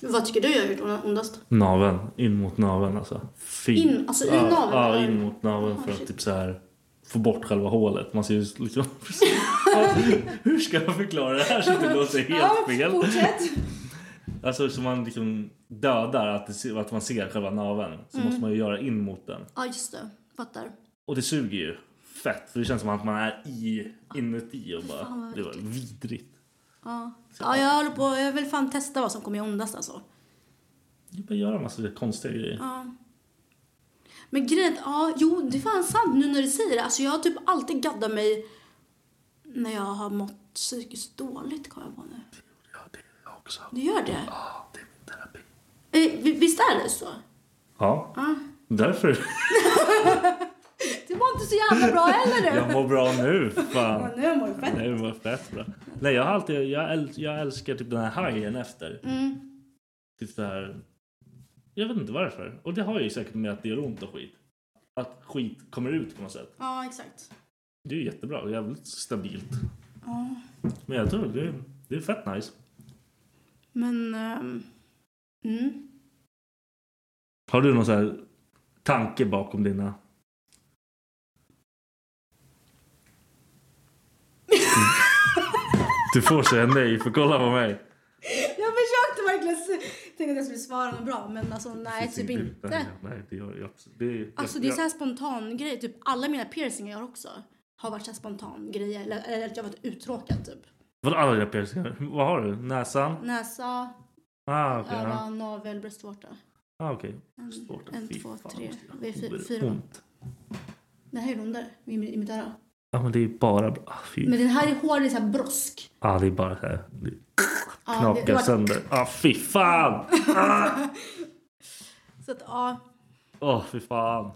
Speaker 4: Vad tycker du jag har gjort ondast?
Speaker 1: Naveln. In mot naveln alltså. Fy.
Speaker 4: In- alltså i
Speaker 1: ja,
Speaker 4: naveln,
Speaker 1: Ja,
Speaker 4: eller?
Speaker 1: in mot naveln
Speaker 4: Ah,
Speaker 1: för att
Speaker 4: shit.
Speaker 1: typ så här få bort själva hålet. Man ser ju liksom... Hur ska jag förklara det här så att det låter helt fel? Alltså så man liksom dödar att, det, se- att man ser själva naveln. Så
Speaker 4: Mm.
Speaker 1: måste man ju göra in mot den.
Speaker 4: Ja, just det. Fattar.
Speaker 1: Och det suger ju fett. För det känns som att man är i, inuti och
Speaker 4: Fan,
Speaker 1: bara...
Speaker 4: vad
Speaker 1: Det var vidrigt.
Speaker 4: Ja. ja, jag håller på. Jag vill fan testa vad som kommer göra ondast alltså.
Speaker 1: Det är bara att göra en massa konstiga grejer.
Speaker 4: Ja. Men grejen, ja, jo, det är fan sant nu när du säger det. Alltså jag har typ alltid gaddat mig när jag har mått psykiskt dåligt, kommer jag på nu. Det gör det?
Speaker 1: Ja, det är min terapi.
Speaker 4: Eh, vi- visst är det så?
Speaker 1: Ja.
Speaker 4: Ja.
Speaker 1: Därför.
Speaker 4: Det var inte så jävla bra heller
Speaker 1: jag
Speaker 4: du.
Speaker 1: mår bra nu.
Speaker 4: Ja,
Speaker 1: Fan.
Speaker 4: nu mår du fett.
Speaker 1: Nej, det var fett bra. Nej, jag, har alltid, jag, äl, jag älskar typ den här hajen efter.
Speaker 4: Mm.
Speaker 1: Typ det här. Jag vet inte varför. Och det har ju säkert med att det gör ont och skit. Att skit kommer ut på något sätt.
Speaker 4: Ja, exakt.
Speaker 1: Det är ju jättebra. Jävligt stabilt.
Speaker 4: Ja.
Speaker 1: Men jag tror det, det är fett nice.
Speaker 4: Men... ehm, mm.
Speaker 1: Har du någon sån här tanke bakom dina... Mm. Du får säga nej, för kolla på mig.
Speaker 4: Jag försökte verkligen se- tänka att jag skulle svara något bra, men alltså nej, typ inte.
Speaker 1: Nej, det gör jag absolut. Det, är-
Speaker 4: Alltså
Speaker 1: jag,
Speaker 4: det är så här spontan grej. Typ alla mina piercingar jag har också har varit så här spontan grejer. Eller, eller att jag har varit uttråkad typ.
Speaker 1: Vadå alla dina piercingar? Vad har du? Näsan?
Speaker 4: Näsa,
Speaker 1: Ah, okej. ja.
Speaker 4: öron, navel, bröstvårta.
Speaker 1: ah, okej.
Speaker 4: En,
Speaker 1: Bröstvårta,
Speaker 4: en
Speaker 1: fy
Speaker 4: två,
Speaker 1: fan,
Speaker 4: tre.
Speaker 1: måste jag-
Speaker 4: Vi är fy-
Speaker 1: Oh, det
Speaker 4: fyra. va?
Speaker 1: ont.
Speaker 4: Den här är rundare i, min- i mitt öra.
Speaker 1: Ja, men det är bara... Ah, fy.
Speaker 4: Men den här är hård, det är så här brosk.
Speaker 1: ah, det är bara så här.
Speaker 4: Ja,
Speaker 1: Det
Speaker 4: det-
Speaker 1: knakar
Speaker 4: det var-
Speaker 1: sönder. Ah, fy fan!
Speaker 4: Så att ja.
Speaker 1: Åh, fy fan.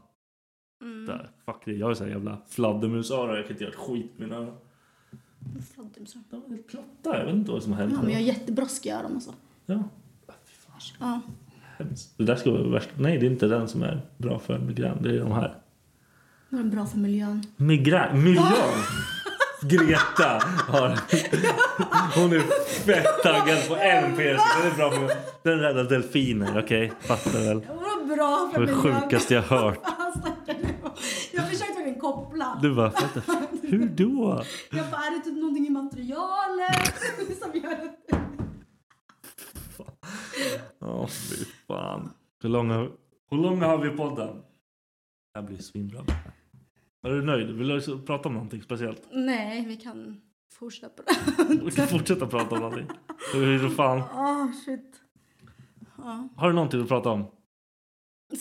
Speaker 4: Mm.
Speaker 1: Där, fuck det. Jag är sån här jävla fladdermusöra. Jag kan inte göra ett skit med mina öron.
Speaker 4: fladdermusar.
Speaker 1: De är helt platta. Jag vet inte vad som har hänt.
Speaker 4: Ja, men jag är jättebroskig i öronen alltså.
Speaker 1: Ja.
Speaker 4: Ja.
Speaker 1: Hemskt. Det där ska vara värst. Nej, det är inte den som är bra för migrän. Det är de här.
Speaker 4: Det var bra för miljön.
Speaker 1: Migrän? Miljön? Greta har... Hon är fett taggad på en piercing. Den är bra för Den räddar delfiner, okej? Fattar väl.
Speaker 4: Vad bra
Speaker 1: Det var det sjukaste jag hört.
Speaker 4: Jag försökte verkligen koppla.
Speaker 1: Du bara, fattar. Hur då?
Speaker 4: Jag bara, är det typ någonting i materialet som gör det?
Speaker 1: Åh, fy fan. Hur långa, hur långa har vi podden? Det här blir svinbra. Är du nöjd? Vill du prata om någonting speciellt?
Speaker 4: Nej, vi kan fortsätta på
Speaker 1: Vi kan fortsätta prata om någonting. Hur fan?
Speaker 4: Åh, shit. Ja.
Speaker 1: Har du någonting att prata om?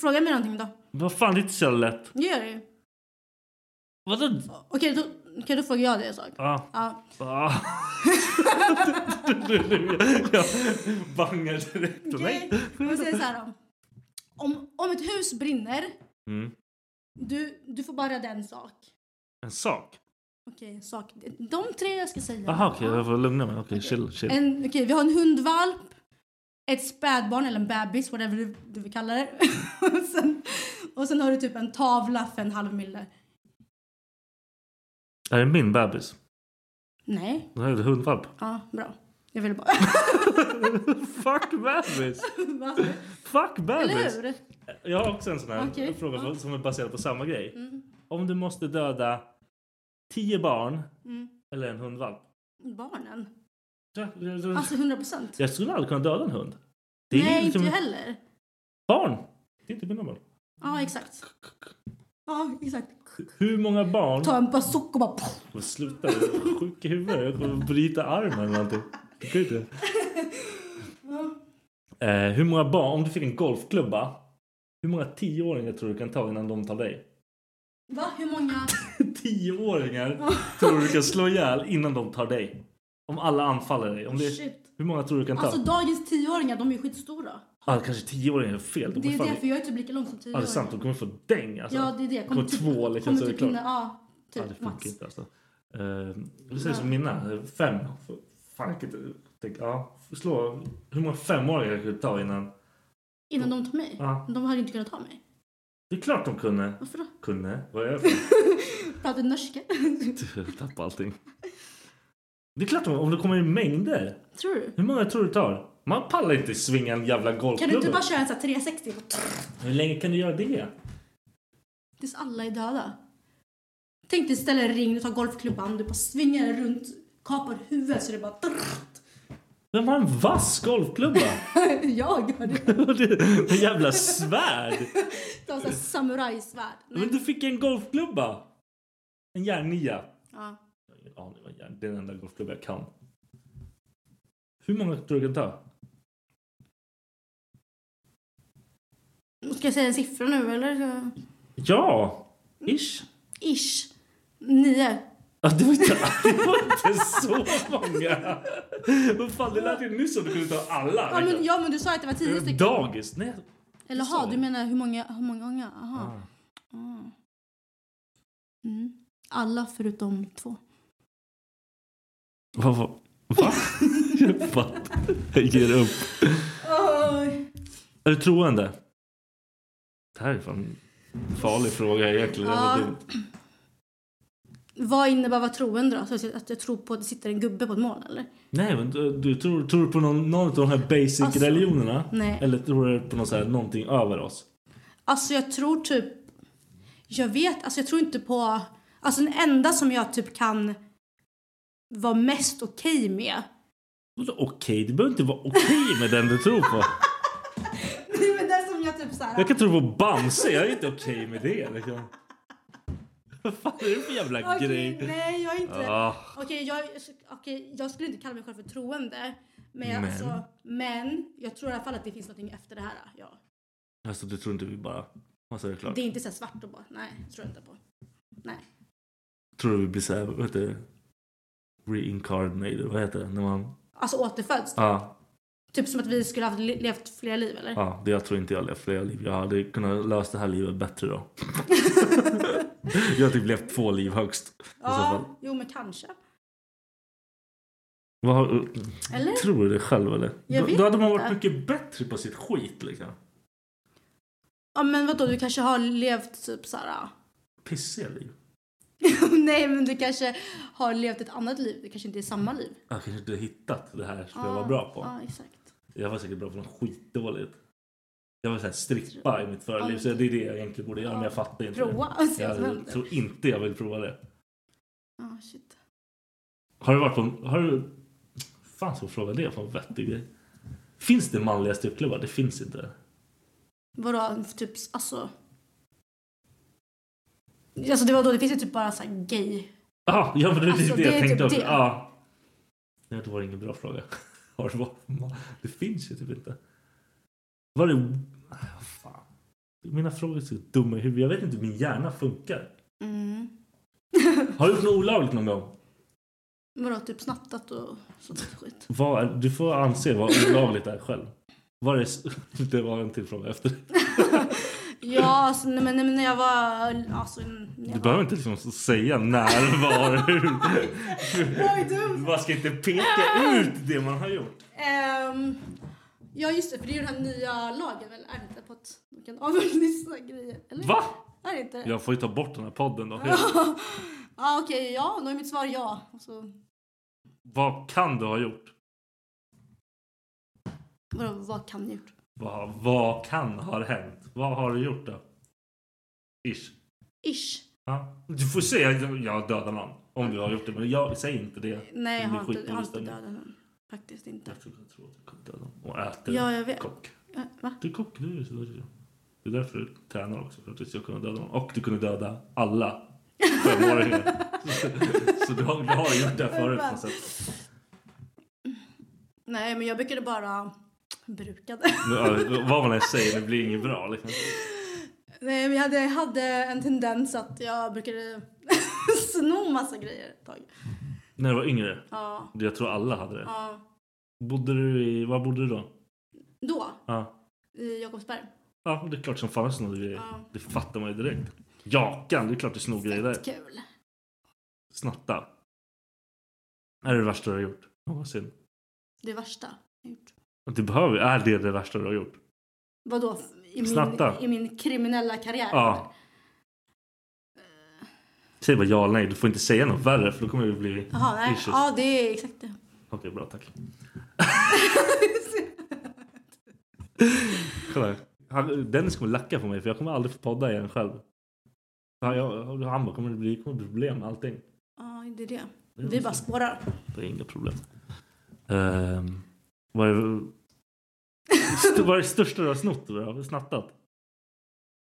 Speaker 4: Fråga mig någonting då.
Speaker 1: Vad fan, det är inte så jävla lätt.
Speaker 4: Det gör det ju.
Speaker 1: Vadå?
Speaker 4: Okej, då, okej, då frågar jag dig en sak.
Speaker 1: Ah.
Speaker 4: Ja.
Speaker 1: Ah. Du, du, du, jag bangar direkt.
Speaker 4: Okej,
Speaker 1: Nej.
Speaker 4: vi säger så här då. Om, om ett hus brinner,
Speaker 1: Mm.
Speaker 4: du, du får bara rädda en sak.
Speaker 1: En sak?
Speaker 4: Okej, en sak. De tre jag ska säga.
Speaker 1: Jaha, okej. jag får lugna mig. Okej, chill. chill.
Speaker 4: En, okej, vi har en hundvalp, ett spädbarn eller en bebis, whatever du, du vill kalla det. och, sen, och sen har du typ en tavla för en halv mille.
Speaker 1: Är det min bebis?
Speaker 4: Nej,
Speaker 1: Det här är en hundvalp.
Speaker 4: ja, bra. Jag ville bara...
Speaker 1: Fuck bebis!
Speaker 4: Va?
Speaker 1: Fuck bebis!
Speaker 4: Eller hur?
Speaker 1: Jag har också en sån här
Speaker 4: Okej,
Speaker 1: fråga
Speaker 4: ja.
Speaker 1: som är baserad på samma grej.
Speaker 4: Mm,
Speaker 1: Om du måste döda tio barn
Speaker 4: mm.
Speaker 1: eller en hundvalp.
Speaker 4: Barnen?
Speaker 1: Ja, ja, ja.
Speaker 4: Alltså 100 procent?
Speaker 1: Jag skulle aldrig kunna döda en hund. Det är
Speaker 4: Nej,
Speaker 1: liksom
Speaker 4: inte jag heller.
Speaker 1: barn. Det är inte mina barn.
Speaker 4: Ja, exakt. Ja, exakt.
Speaker 1: Hur många barn...
Speaker 4: Ta en bazooka och bara... poff.
Speaker 1: Men Sluta, jag är sjuk i huvudet. Jag kommer att bryta armen eller någonting. Det kan ju inte. Eh, hur många barn, om du fick en golfklubba. Hur många tioåringar tror du kan ta innan de tar dig?
Speaker 4: Va? Hur många?
Speaker 1: Tioåringar tror du kan slå ihjäl innan de tar dig. Om alla anfaller dig. Om det,
Speaker 4: Shit.
Speaker 1: hur många tror du kan ta?
Speaker 4: Alltså dagens tioåringar, de är ju skitstora.
Speaker 1: ah, kanske tioåringar är fel. De
Speaker 4: Det är
Speaker 1: fan-
Speaker 4: därför jag är typ lika lång som
Speaker 1: Ja, det är sant.
Speaker 4: tioåringar.
Speaker 1: De kommer få däng. Alltså.
Speaker 4: Ja, det är det. Kommer
Speaker 1: Kommer
Speaker 4: typ-
Speaker 1: två eller
Speaker 4: kommer
Speaker 1: kanske är det
Speaker 4: typ
Speaker 1: klart.
Speaker 4: hinna- ja, typ,
Speaker 1: Ja, det
Speaker 4: max.
Speaker 1: funkar inte alltså. Eh, vi säger som mina. Fem. Fan, jag kan inte- tänk, ja, slå. Hur många femåringar jag kunde ta innan?
Speaker 4: Innan de tar mig.
Speaker 1: Ja.
Speaker 4: De hade ju inte kunnat ta mig.
Speaker 1: Det är klart de kunde.
Speaker 4: Varför då?
Speaker 1: Kunde? Vad är jag för
Speaker 4: Pratar du norska?
Speaker 1: Jag tappar allting. Det är klart de, om det kommer i mängder.
Speaker 4: Tror du?
Speaker 1: Hur många tror du tar? Man pallar inte svinga en jävla
Speaker 4: Kan du
Speaker 1: golfklubba.
Speaker 4: inte bara köra en sån här 360
Speaker 1: Hur länge kan du göra det?
Speaker 4: tills alla är döda? Tänk dig istället en ring, du tar golfklubban, du bara svingar den runt, kapar huvudet så det bara...
Speaker 1: Vem har en vass golfklubba?
Speaker 4: Jag gör det.
Speaker 1: en jävla svärd!
Speaker 4: Du har sån här samurajsvärd.
Speaker 1: Men du fick en golfklubba! En järnia.
Speaker 4: Ja.
Speaker 1: Ja, det var järn. Det är den enda golfklubba jag kan. Hur många tror du kan ta?
Speaker 4: Ska jag säga en siffra nu eller?
Speaker 1: Ja!
Speaker 4: Mm.
Speaker 1: Ish.
Speaker 4: Ish. Nio.
Speaker 1: Ja, det var inte, det var inte så många! Vad fan, det lät ju nyss som du kunde ta alla. liksom.
Speaker 4: Ja men, ja men du sa att det var tio stycken.
Speaker 1: Dagis? Nej.
Speaker 4: Eller ha, du menar hur många, hur många gånger? Aha. Ah. Mm. Alla förutom två.
Speaker 1: Vad var... Va? Jag fattar. Jag ger upp.
Speaker 4: Oj.
Speaker 1: Är du troende? Det här är fan en farlig fråga egentligen. Det var
Speaker 4: Ja.
Speaker 1: dumt.
Speaker 4: Vad innebär att vara troende då? Så att jag tror på att det sitter en gubbe på ett moln eller?
Speaker 1: Nej, men du, du tror, tror du på någon, någon av de här basic
Speaker 4: Alltså,
Speaker 1: religionerna?
Speaker 4: nej.
Speaker 1: Eller tror du på någon så här, någonting över oss?
Speaker 4: Alltså jag tror typ... Jag vet, alltså jag tror inte på... Alltså den enda som jag typ kan vara mest okej med.
Speaker 1: Vadå Okej, det behöver inte vara okej med den du tror på.
Speaker 4: Nej men den som jag typ såhär...
Speaker 1: Jag kan tro på Bamse, jag är inte okej med det. Liksom. Vad fan är det för jävla
Speaker 4: Okej,
Speaker 1: grej?
Speaker 4: nej jag är inte
Speaker 1: Ah.
Speaker 4: Okej, jag, okej, jag skulle inte kalla mig själv för troende. Men, jag,
Speaker 1: Men?
Speaker 4: Alltså, men jag tror i alla fall att det finns någonting efter det här. Ja.
Speaker 1: Alltså, du tror inte vi bara... Alltså, det är klart.
Speaker 4: Det är inte så här svart och bara, nej, det tror jag inte på. Nej.
Speaker 1: Tror du vi blir så här, vad heter det? Reincarnated, vad heter det? När man...
Speaker 4: Alltså återföds.
Speaker 1: Ja, ah,
Speaker 4: Typ som att vi skulle ha levt flera liv eller?
Speaker 1: ah, det jag tror inte jag levt flera liv. Jag hade kunnat lösa det här livet bättre då. jag har typ levt två liv högst. I så fall.
Speaker 4: Ja, jo men kanske.
Speaker 1: Vad har,
Speaker 4: Eller?
Speaker 1: Tror du det själv eller?
Speaker 4: Jag
Speaker 1: Då,
Speaker 4: vet
Speaker 1: då hade man
Speaker 4: inte.
Speaker 1: varit mycket bättre på sitt skit liksom.
Speaker 4: Ja men vadå, du kanske har levt typ såhär...
Speaker 1: Pissiga liv.
Speaker 4: nej men du kanske har levt ett annat liv, det kanske inte är samma liv.
Speaker 1: Jag kanske inte hittat det här som jag
Speaker 4: Ja,
Speaker 1: var bra på.
Speaker 4: Ja, exakt.
Speaker 1: Jag var säkert bra på något skitdåligt. Jag var såhär strippa i mitt förra liv så det är det jag egentligen borde göra men jag fattar inte
Speaker 4: Prova och
Speaker 1: det.
Speaker 4: se vad som
Speaker 1: Jag
Speaker 4: händer.
Speaker 1: tror inte jag vill prova det.
Speaker 4: Ja, shit.
Speaker 1: Har du varit på... Har du... Fan ska jag fråga det för en vettig grej. Finns det manliga strippklubbar? Det finns inte.
Speaker 4: Vadå, typ alltså... Alltså det var då, det finns ju typ bara såhär gay.
Speaker 1: Ah, ja men det är
Speaker 4: Alltså,
Speaker 1: det
Speaker 4: det
Speaker 1: jag
Speaker 4: är
Speaker 1: tänkte
Speaker 4: typ
Speaker 1: också.
Speaker 4: det.
Speaker 1: Ja. Nej, det var ingen bra fråga. Har det varit... Det finns ju typ inte. Var det... Ah, vad Fan. Mina frågor är så dumma i huvudet. Jag vet inte hur min hjärna funkar.
Speaker 4: Mm.
Speaker 1: Har du gjort något olagligt någon gång?
Speaker 4: Vadå, typ snattat och sånt där skit.
Speaker 1: Vad är... Du får anse vad olagligt är själv. Var det... det var en till fråga efter.
Speaker 4: Ja, alltså, nej, men nej, men när jag var... Alltså, när
Speaker 1: Du
Speaker 4: jag
Speaker 1: behöver inte liksom säga när, var, hur.
Speaker 4: Oj, dumt!
Speaker 1: Man ska inte peka ut det man har gjort.
Speaker 4: Ehm, ja just det, för det är ju den här nya lagen väl? Är det inte på att de kan avlyssna grejer? Eller?
Speaker 1: Va?
Speaker 4: Är det inte det? Ja
Speaker 1: Jag får ju ta bort den här podden då.
Speaker 4: ah, okej, ja då är mitt svar ja. Och så,
Speaker 1: Vad kan du ha gjort?
Speaker 4: vadå, vad kan jag gjort?
Speaker 1: Vad, vad kan ha hänt? Vad har du gjort då? Ish.
Speaker 4: Ish.
Speaker 1: Ja. Du får säga att jag dödar någon. Om du har gjort det. Men jag säger inte det.
Speaker 4: Nej jag
Speaker 1: Det blir
Speaker 4: har inte, jag har
Speaker 1: skitdålig
Speaker 4: inte
Speaker 1: stämning.
Speaker 4: dödat någon. Faktiskt inte.
Speaker 1: Jag tror jag tror att du kommer döda någon. Och äter
Speaker 4: Ja, jag vet.
Speaker 1: kock.
Speaker 4: Äh, va?
Speaker 1: Du är kock. Du är så där. Det är därför du tränar också. För att du ska kunna döda någon. Och du kunde döda alla femåringar. så du har, du har gjort det här förut på något sätt.
Speaker 4: Nej men jag brukade bara brukade.
Speaker 1: Nu, ja, vad man än säger, det blir inget bra. Liksom.
Speaker 4: Nej, men jag hade, jag hade en tendens att jag brukade sno massa grejer ett tag.
Speaker 1: När du var yngre?
Speaker 4: Ja.
Speaker 1: Det- Jag tror alla hade det.
Speaker 4: Ja.
Speaker 1: Bodde du i... Var bodde du då?
Speaker 4: Då,
Speaker 1: Ja.
Speaker 4: i Jakobsberg.
Speaker 1: Ja, det är klart som fan jag snodde grejer.
Speaker 4: Ja.
Speaker 1: Det fattar man ju direkt. Jakan, det är klart du snor grejer där.
Speaker 4: Kul.
Speaker 1: Snatta. Är det det värsta du har gjort? Någonsin.
Speaker 4: Det värsta jag gjort.
Speaker 1: Det behöver, är det det värsta du har gjort?
Speaker 4: Vadå? I min,
Speaker 1: Snatta.
Speaker 4: I min kriminella karriär?
Speaker 1: Ja. Säg bara ja eller nej. Du får inte säga något värre för då kommer det bli
Speaker 4: Jaha, nej.
Speaker 1: issues.
Speaker 4: Ja, det är exakt det.
Speaker 1: Okej, bra. Tack. Kolla. här. Han, Dennis kommer lacka på mig för jag kommer aldrig få podda igen själv. Han, jag, han bara, kommer det bli kommer det bli problem med allting?
Speaker 4: Ja, det är det.
Speaker 1: Det är
Speaker 4: Vi
Speaker 1: också-
Speaker 4: bara spårar.
Speaker 1: Det är inga problem. Um, vad, är, st- vad är det största du har snott? Vad har du snattat?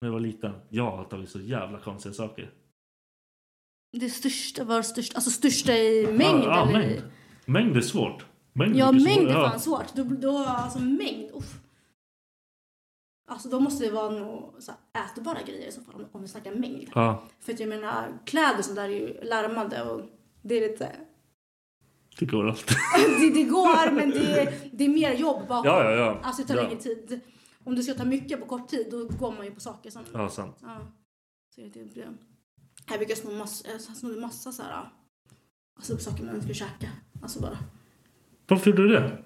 Speaker 1: När jag var liten? Jag har tagit så jävla konstiga saker.
Speaker 4: Det största var störst, alltså största i mängd.
Speaker 1: Ja, ja,
Speaker 4: eller?
Speaker 1: mängd. mängd är svårt. Mängd
Speaker 4: Ja,
Speaker 1: mycket
Speaker 4: mängd är
Speaker 1: svårare.
Speaker 4: fan svårt. Då, då, alltså mängd, uff. Alltså då måste det vara nå så här, ätbara grejer i så fall om- om vi snackar mängd.
Speaker 1: Ja.
Speaker 4: För att jag menar, kläder och sånt där är ju larmade och det är lite...
Speaker 1: Det går alltid.
Speaker 4: Det, det går men det, det är mer jobb bakom.
Speaker 1: Ja, ja, ja.
Speaker 4: Alltså det tar
Speaker 1: Ja.
Speaker 4: längre tid. Om du ska ta mycket på kort tid då går man ju på saker som...
Speaker 1: Ja, sant.
Speaker 4: Ja. Så det är ett problem. Jag brukar sno massa, jag snodde massa så här... Alltså saker man skulle käka. Alltså bara.
Speaker 1: Varför gjorde du det?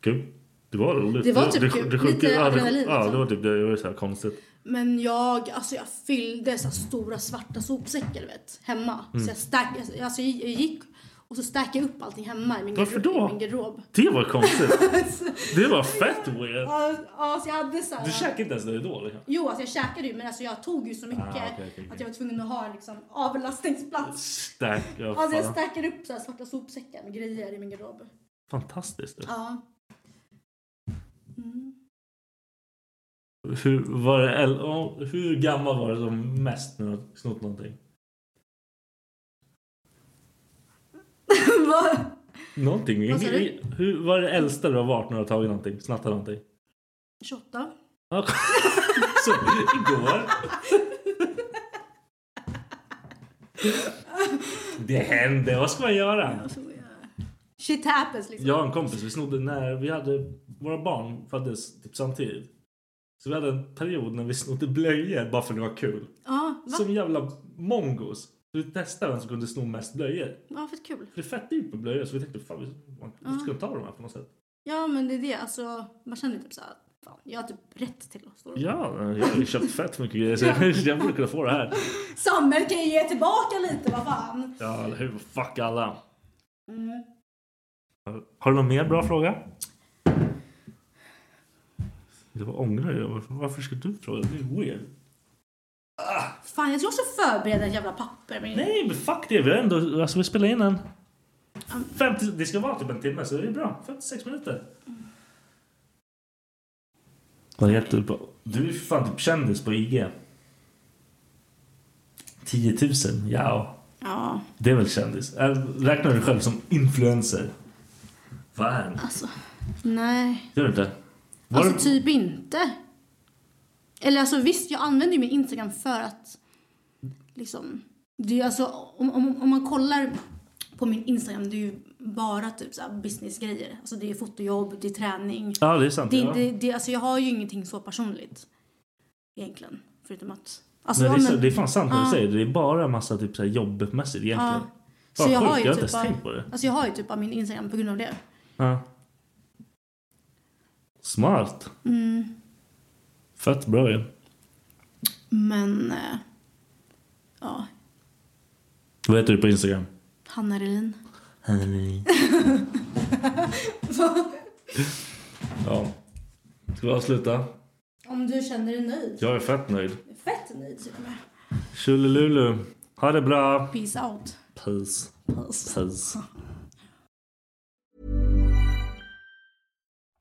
Speaker 1: Kul. Det var roligt.
Speaker 4: Det var typ kul. Lite
Speaker 1: ja, det,
Speaker 4: adrenalin,
Speaker 1: Ja, det
Speaker 4: liksom.
Speaker 1: var typ det. Det var så här konstigt.
Speaker 4: Men jag, alltså jag fyllde så här stora svarta sopsäckar du vet, hemma.
Speaker 1: Mm.
Speaker 4: Så jag, stack, alltså jag gick och så stackade jag upp allting hemma i min,
Speaker 1: Varför
Speaker 4: garderob-
Speaker 1: då?
Speaker 4: I min garderob.
Speaker 1: Det var konstigt. det var fett weird.
Speaker 4: Ja, ja, så jag hade så här,
Speaker 1: Du käkade inte ens när du då liksom.
Speaker 4: Jo, alltså jag käkade ju men alltså jag tog ju så mycket
Speaker 1: Ah, okej, okej, okej.
Speaker 4: att jag var tvungen att ha en liksom, avlastningsplats.
Speaker 1: Stack. Ja,
Speaker 4: alltså jag
Speaker 1: fan.
Speaker 4: stackade upp så här svarta sopsäckar med grejer i min garderob.
Speaker 1: Fantastiskt. du.
Speaker 4: Ja. Mm.
Speaker 1: Hur, var det, eller, ja, hur gammal var du som mest när du snott någonting?
Speaker 4: Vad-
Speaker 1: Någonting?
Speaker 4: Vad sa du?
Speaker 1: Hur, var det äldsta du har varit när du har tagit någonting? Snattat någonting?
Speaker 4: 28?
Speaker 1: Ja. Så, igår. Det hände. Vad ska man göra?
Speaker 4: Shit happens liksom.
Speaker 1: Jag och en kompis vi snodde när vi hade våra barn föddes typ samtidigt. Så vi hade en period när vi snodde blöjor bara för att det var kul.
Speaker 4: Ja, va?
Speaker 1: Som jävla mongos. Vi testade vem som kunde sno mest blöjor.
Speaker 4: Ja, fett kul.
Speaker 1: Det är fett dyrt på blöjor så vi tänkte fan vi vi ska ta de här på något sätt.
Speaker 4: Ja men det är det, alltså man känner typ såhär, fan jag har typ rätt till att stå
Speaker 1: Ja, jag har ju köpt fett mycket grejer så jag, jag borde kunna få det här.
Speaker 4: Samhället kan ju ge tillbaka lite, vad fan.
Speaker 1: Ja, eller hur? Fuck alla.
Speaker 4: Mm.
Speaker 1: Har du någon mer bra fråga? Det var ångrar jag. Varför, varför ska du fråga? Det är weird.
Speaker 4: Fan jag ska också förbereda ett jävla papper. Men...
Speaker 1: Nej, men fuck det. Vi har ändå... Alltså vi spelar in en... 50, det ska vara typ en timme så det är bra. 56 minuter. Vad heter du på... Du är för fan typ kändis på IG. 10 000? Ja.
Speaker 4: Ja,
Speaker 1: Det är väl kändis? Äh, Räknar du dig själv som influencer? Vad är det?
Speaker 4: alltså. Nej.
Speaker 1: Gör du inte? Var
Speaker 4: Alltså
Speaker 1: du-
Speaker 4: typ inte. Eller alltså visst, jag använder ju min Instagram för att liksom. Det är ju alltså om, om, om man kollar på min Instagram, det är ju bara typ såhär businessgrejer. Alltså det är fotojobb, det är träning.
Speaker 1: Ja, det är sant.
Speaker 4: Det,
Speaker 1: ja.
Speaker 4: det, det, alltså jag har ju ingenting så personligt. Egentligen. Förutom att... Alltså,
Speaker 1: Nej, det, är,
Speaker 4: ja,
Speaker 1: så-
Speaker 4: men-
Speaker 1: det är fan sant när du
Speaker 4: Ja.
Speaker 1: säger det. Det är bara en massa typ, så här, jobbmässigt egentligen.
Speaker 4: Ja.
Speaker 1: Fan,
Speaker 4: Så jag
Speaker 1: sjukt,
Speaker 4: har,
Speaker 1: jag har
Speaker 4: ju
Speaker 1: inte
Speaker 4: typ
Speaker 1: ens tänkt på
Speaker 4: bara,
Speaker 1: det.
Speaker 4: alltså jag har ju typ bara min Instagram på grund av det.
Speaker 1: Ja. Smart.
Speaker 4: Mm.
Speaker 1: Fett bra ju.
Speaker 4: Men... eh, Ja,
Speaker 1: Vad heter du på Instagram?
Speaker 4: Hanna Relin.
Speaker 1: ja. Ska vi avsluta?
Speaker 4: Om du känner dig nöjd.
Speaker 1: Jag är fett nöjd.
Speaker 4: Fett nöjd till och med.
Speaker 1: Tjolilulu. Ha det bra.
Speaker 4: Peace out.
Speaker 1: Peace.
Speaker 4: Peace.
Speaker 1: Peace.